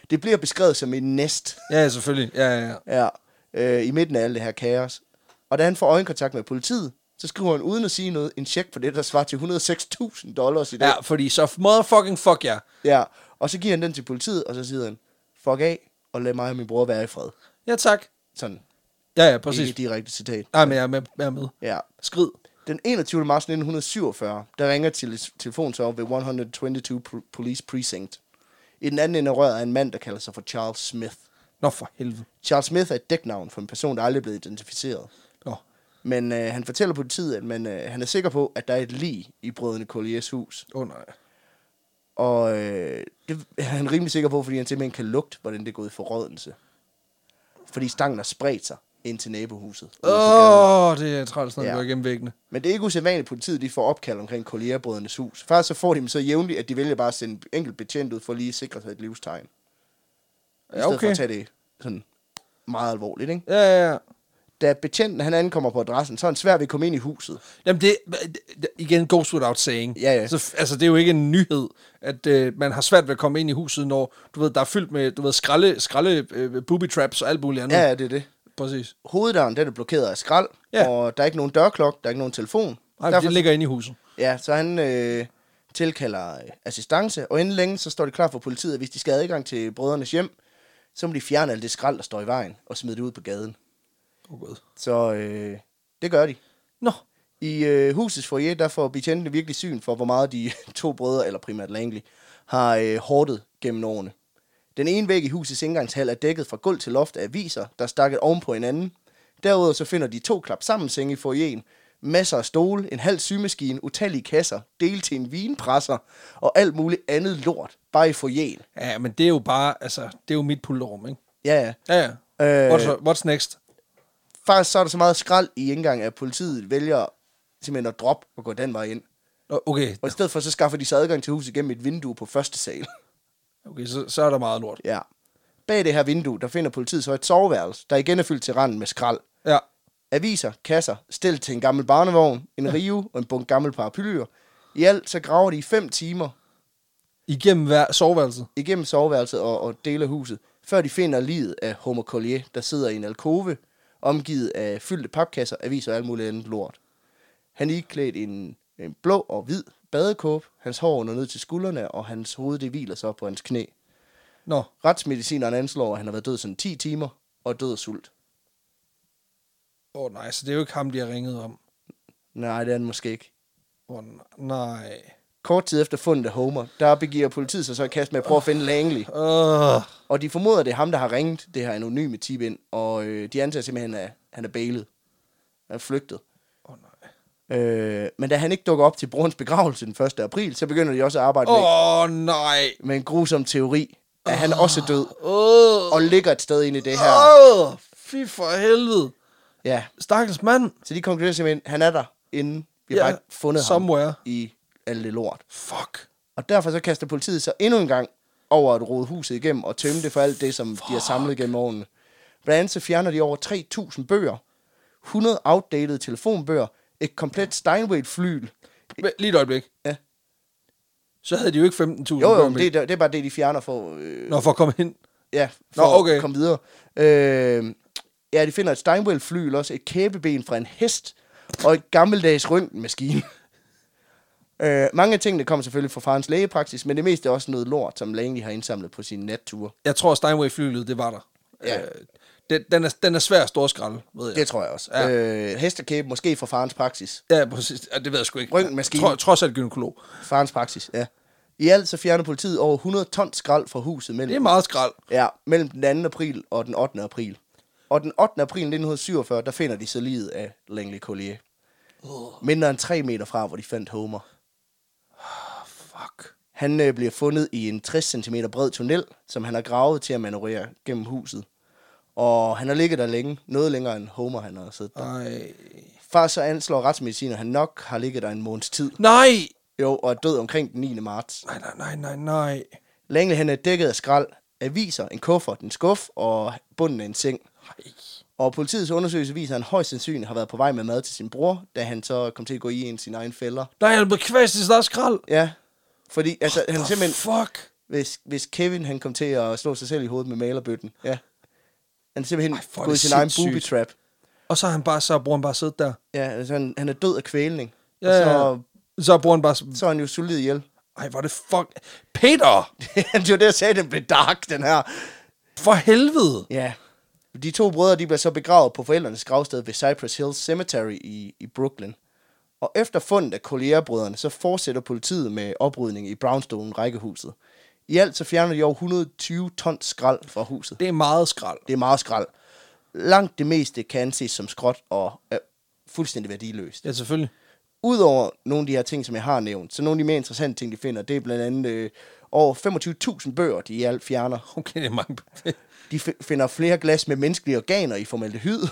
Det bliver beskrevet som en næst ja, selvfølgelig. Ja, ja, ja. ja, øh, i midten af alt det her kaos. Og da han får øjenkontakt med politiet, så skriver han uden at sige noget en check på det, der svarer til 106.000 dollars i dag. Ja, fordi så motherfucking fuck jer. ja. Og så giver han den til politiet, og så siger han, fuck af, og lad mig og min bror være i fred. Ja, tak. Sådan, Ja, ja, Præcis. præcis. ikke et direkte citat. Nej, men jeg er med. Jeg er med. Ja. Skrid. Den 21. marts 1947, der ringer til telefonsøger ved 122 Pro- Police Precinct. I den anden ende af røret er en mand, der kalder sig for Charles Smith. Nå, for helvede. Charles Smith er et dæknavn for en person, der aldrig er blevet identificeret. Nå. Men øh, han fortæller politiet, at man, øh, han er sikker på, at der er et lig i brødrene Colliers hus. Åh, oh, nej. Og øh, det er han rimelig sikker på, fordi han simpelthen kan lugte, hvordan det er gået i forrådelse. Fordi stangen har spredt sig ind til nabohuset. ude på gaden. Åh, oh, det er træls, når det Ja. går igennem væggene. Men det er ikke usædvanligt, at politiet de får opkald omkring Collier-brødrenes hus. Faktisk så får de dem så jævnligt, at de vælger bare at sende en enkelt betjent ud for lige at sikre sig et livstegn. I Ja, stedet for okay. at tage det sådan meget alvorligt, ikke? Ja, ja, ja. Da betjenten han ankommer på adressen, så er han svær ved at komme ind i huset. Jamen det, det- igen, goes without saying. Ja, ja. Så, altså, det er jo ikke en nyhed, at øh, man har svært ved at komme ind i huset, når du ved, der er fyldt med du ved, skralde, skralde øh, booby traps og alt muligt andet. Ja, ja, det er det. Præcis. hoveddøren, den er blokeret af skrald, Ja. ja. og der er ikke nogen dørklok, der er ikke nogen telefon. Nej, Derfor... Derfor, det ligger inde i huset. ja, så han øh, tilkalder øh, assistance, og inden længe, så står det klar for politiet, at hvis de skal have adgang til brødrenes hjem, så må de fjerne alt det skrald, der står i vejen, og smide det ud på gaden. Oh, God. Så øh, det gør de. Nå, I øh, husets foyer, der får betjentene virkelig syn for, hvor meget de to brødre, eller primært Langley, har øh, hårdet gennem årene. Den ene væg i husets indgangshal er dækket fra gulv til loft af aviser, der er stakket oven på hinanden. Derudover så finder de to klap sammen senge i foyeren, masser af stole, en halv sygemaskine, utallige kasser, del til en vinpresser og alt muligt andet lort, bare i foyeren. ja, men det er jo bare, altså, det er jo mit pullerum, ikke? Ja, ja. Ja, ja. Øh. Øh... What's, what's next? Faktisk så er der så meget skrald i indgangen, at politiet vælger simpelthen at droppe og gå den vej ind. Nå, Okay, Og i stedet for, så skaffer de sig adgang til huset gennem et vindue på første sal. okay så, så er der meget lort. ja. Bag det her vindue, der finder politiet så et soveværelse, der igen er fyldt til randen med skrald. Ja, Aviser, kasser, stillet til en gammel barnevogn, en rive og en bunke gammel paraplyer. I alt så graver de i fem timer igennem hver soveværelset. igennem soveværelset og, og dele af huset, før de finder livet af Homer Collier, der sidder i en alkove, omgivet af fyldte papkasser, aviser og alt muligt andet lort. Han er iklædt en, en blå og hvid badekåb, hans hår når ned til skuldrene, og hans hoved det hviler så på hans knæ. Nå, Retsmedicineren anslår, at han har været død sådan 10 timer og død af sult. åh oh, nej, så det er jo ikke ham, de har ringet om. Nej, det er han måske ikke. Åh oh, nej. Kort tid efter fundet af Homer, der begiver politiet sig så i kast med at prøve at finde Langley. Øh, Og de formoder, det er ham, der har ringet det her anonyme tip ind, og øh, de antager simpelthen, at han er bailet. Han er flygtet. åh oh, nej. Øh, men da han ikke dukker op til brorens begravelse den 1. april, så begynder de også at arbejde oh. Åh oh, nej. med, med en grusom teori, at han også er død, Åh, og ligger et sted inde i det her. oh, oh, Øh. fy for helvede. Ja, Stakkels mand. så de konkluderer simpelthen, at han er der, inden vi har Ja, bare ikke fundet somewhere. ham i alt det lort. Fuck. Og derfor så kaster politiet sig endnu en gang over at rode huset igennem og tømme det for alt det, som de har samlet gennem årene. Blandt andet så fjerner de over 3.000 bøger, 100 outdated telefonbøger, et komplet Steinway-flyl. Men, lige et øjeblik. Ja. Så havde de jo ikke 15.000 Jo, jo, børn men med. det, er- det er bare det, de fjerner for, øh, Nå, for at komme ind. ja, for Nå, okay. at komme videre. Øh, ja, de finder et Steinway-flyl, også et kæbeben fra en hest og et gammeldags røntgenmaskine. Øh, mange af tingene kommer selvfølgelig fra farens lægepraksis, men det meste er også noget lort, som Langley har indsamlet på sine natture. Jeg tror, Steinway-flylet, det var der. Ja. Øh, den, den, er, den er svær at stå og skralde, ved jeg. Det tror jeg også. Ja. Ja. Øh, hestekæbe, måske fra farens praksis. Ja, præcis. Ja, det ved jeg sgu ikke. Røntgenmaskine. Tro, trods alt gynekolog. Farens praksis, ja. I alt så fjerner politiet over 100 ton skrald fra huset Det er mellem, meget skrald. ja, mellem den 2. april og den 8. april. Og den 8. april 1947, der finder de så livet af Langley Collier. Mindre end 3 meter fra, hvor de fandt Homer. Fuck. Han øh, bliver fundet i en 60 cm bred tunnel, som han har gravet til at manøvrere gennem huset. Og han har ligget der længe, noget længere end Homer, han har siddet der. Ej. Far så anslår retsmediciner, at han nok har ligget der en måneds tid. Nej! Jo, og er død omkring den 9. marts. Nej, nej, nej, nej, nej. Langley han er dækket af skrald, aviser, en kuffert, en skuff og bunden af en seng. Ej. Og politiets undersøgelse viser, at han højst sandsynligt har været på vej med mad til sin bror, da han så kom til at gå i en af sine egne fælder. Nej, han er blevet kvæst i sådan skrald. Ja, fordi altså, han er simpelthen, Fuck. hvis, hvis Kevin han kom til at slå sig selv i hovedet med malerbøtten, ja. Han er simpelthen Ej, hvor er gået i det sin egen sindssygt. booby trap. Og så har han bare, så har broren bare siddet der. Ja, altså, han, han er død af kvælning. Ja, Ja, og så... så, så har broren bare... s- så er han jo solid ihjel. Ej, hvor er det fuck... Peter! det var det, jeg sagde, den blev dark, den her. For helvede! Ja. De to brødre, de bliver så begravet på forældrenes gravsted ved Cypress Hills Cemetery i, i Brooklyn. Og efter fundet af kollegerbrødrene, så fortsætter politiet med oprydning i brownstone rækkehuset. I alt så fjerner de over 120 ton skrald fra huset. Det er meget skrald. Det er meget skrald. Langt det meste kan anses som skråt og er fuldstændig værdiløst. Ja, selvfølgelig. Udover nogle af de her ting, som jeg har nævnt, så nogle af de mere interessante ting, de finder, det er blandt andet øh, over 25.000 bøger, de i alt fjerner. Okay, det er mange... De fi- finder flere glas med menneskelige organer i formaldehyd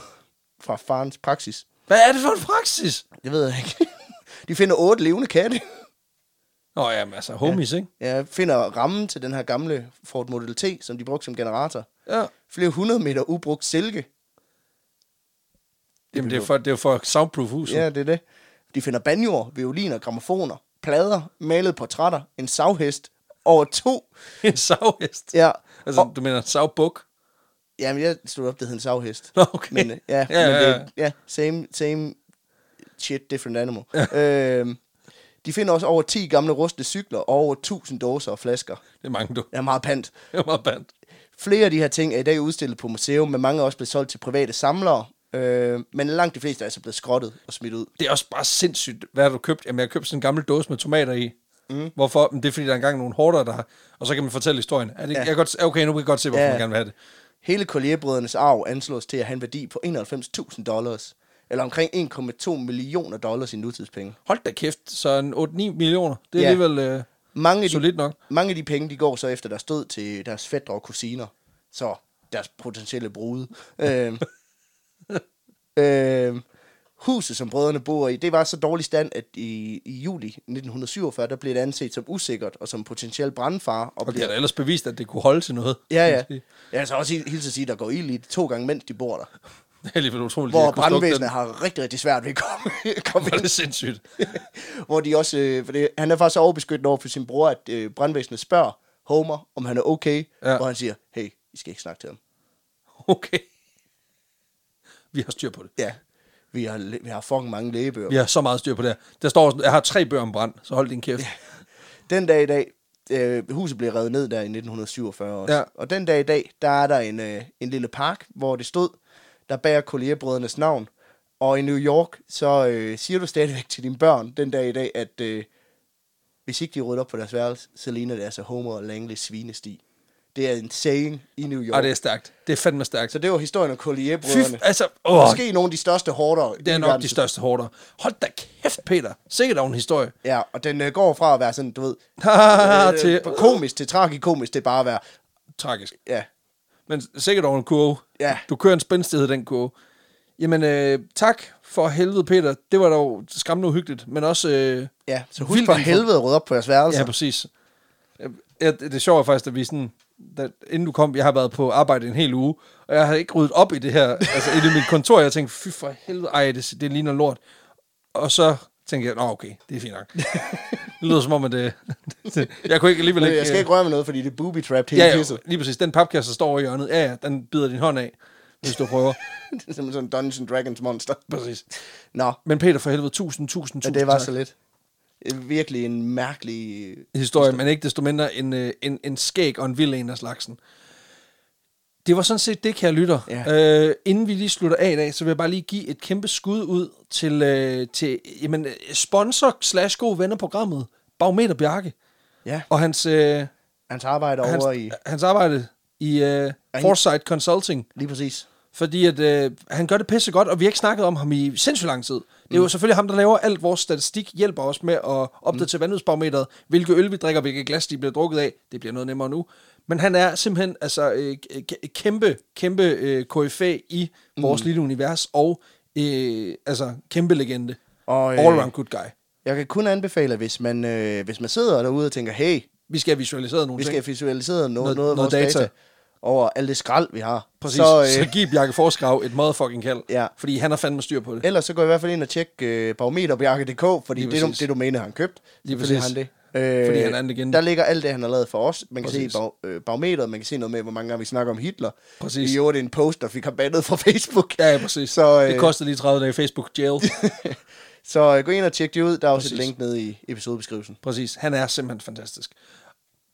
fra farens praksis. Hvad er det for en praksis? Det ved jeg ikke. De finder otte levende katte. Nå, jamen altså, homies, ikke? Ja, finder rammen til den her gamle Ford Model T, som de brugte som generator. Ja. Flere hundrede meter ubrugt silke. Jamen, det er for, det er for soundproof huset. Ja, det er det. De finder banjoer, violiner, gramofoner, plader, malede portrætter, en savhest over to. En savhest. Ja, Altså, og, du mener en savbuk? jamen jeg stod op, det hed en savhest. Nå, okay. Men, øh, ja, Ja, ja, men ja, det, ja, same, same shit, different animal. øhm, de finder også over 10 gamle rustne cykler og over 1000 dåser og flasker. Det er mange, du. Det er meget pant. Det er meget band. Flere af de her ting er i dag udstillet på museum, men mange er også blevet solgt til private samlere, Øh, men langt de fleste er altså blevet skrottet og smidt ud. Det er også bare sindssygt, hvad har du købt? Jamen, jeg har købt sådan en gammel dåse med tomater i. Mm. Hvorfor? Men det er, fordi der er engang nogle hårdere, der har... Og så kan man fortælle historien. Er det, ja. jeg kan godt, se- okay, nu kan jeg godt se, hvorfor Ja. ja. man gerne vil have det. Hele Collierbrødrenes arv anslås til at have en værdi på 91.000 dollars, eller omkring 1,2 millioner dollars i nutidspenge. Hold da kæft, så en 8-9 millioner. Det er Ja. ja. alligevel øh, Mange af, de, solidt nok. mange af de penge, de går så efter deres død til deres fætter og kusiner, så deres potentielle brude. øhm, øhm, huset, som brødrene bor i, det var så dårlig stand, at i, i juli 1947, der blev det anset som usikkert og som potentiel brandfare. Og Og det bliver- er da ellers bevist, at det kunne holde til noget. Ja, kan man ja. sige. Jeg kan så også hilse at sige, at der går ild i det to gange, mens de bor der. Det er alligevel utroligt. at Hvor jeg kunne slukke brandvæsenet den. har rigtig, rigtig svært ved at komme, komme Hvor er ind. det sindssygt. Hvor de også, øh, for det, han er faktisk så overbeskyttende over for sin bror, at øh, brandvæsenet spørger Homer, om han er okay. Ja. Ja. Hvor han siger, hey, I skal ikke snakke til ham. Okay. Vi har styr på det. Ja, vi har, læ- vi har fucking mange lægebøger. Vi har så meget styr på det her. Der står sådan, jeg har tre bøger om brand, så hold din kæft. Den dag i dag, øh, huset blev revet ned der i 1947 også. Ja. Og den dag i dag, der er der en, øh, en lille park, hvor det stod, der bærer kollegebrødrenes navn. Og i New York, så øh, siger du stadigvæk til dine børn den dag i dag, at øh, hvis ikke de rydder op på deres værelse, så ligner det altså Homer og Langley svinesti. Det er en saying i New York. Ej, det er stærkt. Det er fandme stærkt. Så det var historien om Fy, kollegebrødrene. altså, åh, Måske nogle af de største hårdere. det er nok de største hårdere. Hold da kæft, Peter. Sikkert en historie. Ja, og den øh, går fra at være sådan, du ved, øh, til komisk til tragikomisk, det er bare at være, tragisk. ja, Men sikkert over en kurve. Ja. Du kører en spændstighed, i den kurve. Jamen, øh, tak for helvede, Peter. Det var dog skræmmende uhyggeligt, men også... Øh, Ja, så husk vildt for info- helvede at rydde op på jeres værelse. Ja, præcis. Ja, det, det sjove er faktisk, at vi sådan, da, inden du kom, jeg har været på arbejde en hel uge, og jeg har ikke ryddet op i det her, altså inde i mit kontor, jeg tænkte, fy for helvede, ej, det, det ligner lort. Og så tænkte jeg, nå okay, det er fint nok. Det lyder som om, at det, det, jeg kunne ikke alligevel ikke... Men Øh, øh, jeg skal ikke røre med noget, fordi det er booby-trapped hele ja, ja, pisset. lige præcis. Den papkasse, der står over i hjørnet, ja, ja, den bider din hånd af, hvis du prøver. det er simpelthen sådan en Dungeons Dragons monster. Præcis. Nå, Men Peter, for helvede, tusind, tusind, men tusind det var tak. så lidt. Øh, Virkelig en mærkelig... øh, historie, men ikke desto mindre en, øh, en, en skæg og en vild en af slagsen. Det var sådan set det, kære lytter. Ja. Øh, inden vi lige slutter af i dag, så vil jeg bare lige give et kæmpe skud ud til, øh, til jamen, øh, sponsor slash god venner programmet, Bagmeter Bjarke, Ja, og hans, øh, hans arbejde hans, over i... hans arbejde i øh, Foresight Consulting. Lige præcis. Fordi at, øh, han gør det pisse godt, og vi har ikke snakket om ham i sindssygt lang tid. Det Mm. er jo selvfølgelig ham, der laver alt vores statistik, hjælper os med at opdatere mm. vandhedsbarometeret, hvilke øl vi drikker, hvilke glas de bliver drukket af. Det bliver noget nemmere nu. Men han er simpelthen altså, øh, k- kæmpe, kæmpe øh, KFA i Mm. vores lille univers, og øh, altså kæmpe legende. Og, øh, All around good guy. Jeg kan kun anbefale, hvis man, øh, hvis man sidder derude og tænker, hey, Vi skal have visualiseret nogle vi skal ting. have visualiseret Noget- noget, noget af noget vores data. data. data over alt det skrald, vi har. Præcis. Så, Så, øh, så giv Bjarke Forskrav et motherfucking kald, Ja. fordi han har fandme styr på det. Ellers så går jeg i hvert fald ind og tjek øh, barometerbjarke.dk, fordi Lige det, du, præcis. det du mener, han købt. Lige Selvfølgelig præcis. har Han det. Øh, Fordi han er en legende. Der ligger alt det, han har lavet for os. Man kan Præcis. se bag, øh, barometeret, man kan se noget med, hvor mange gange vi snakker om Hitler. Præcis. Vi gjorde en post, der fik ham bandet fra Facebook. Ja, ja præcis. Så, øh, det koster lige 30 dage Facebook jail. Så øh, gå ind og tjek det ud. Der er også et Præcis. link nede i episodebeskrivelsen. Præcis. Han er simpelthen fantastisk.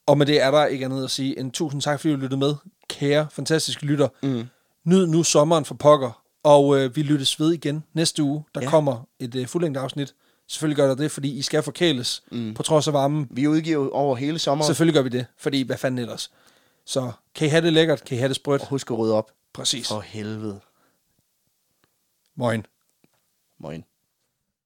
Og med det er der ikke andet at sige end tusind tak, fordi du lyttede med. Kære, fantastiske lytter. Mm. Nyd nu sommeren for pokker. Og øh, vi lyttes ved igen næste uge. Der ja. kommer et øh, fuldlængde afsnit. Selvfølgelig gør der det, fordi I skal forkæles mm. på trods af varmen. Vi udgiver over hele sommeren. Selvfølgelig gør vi det, fordi hvad fanden ellers. Så kan I have det lækkert, kan I have det sprødt. Og Husk at rydde op. Præcis. For helvede. Moin. Moin.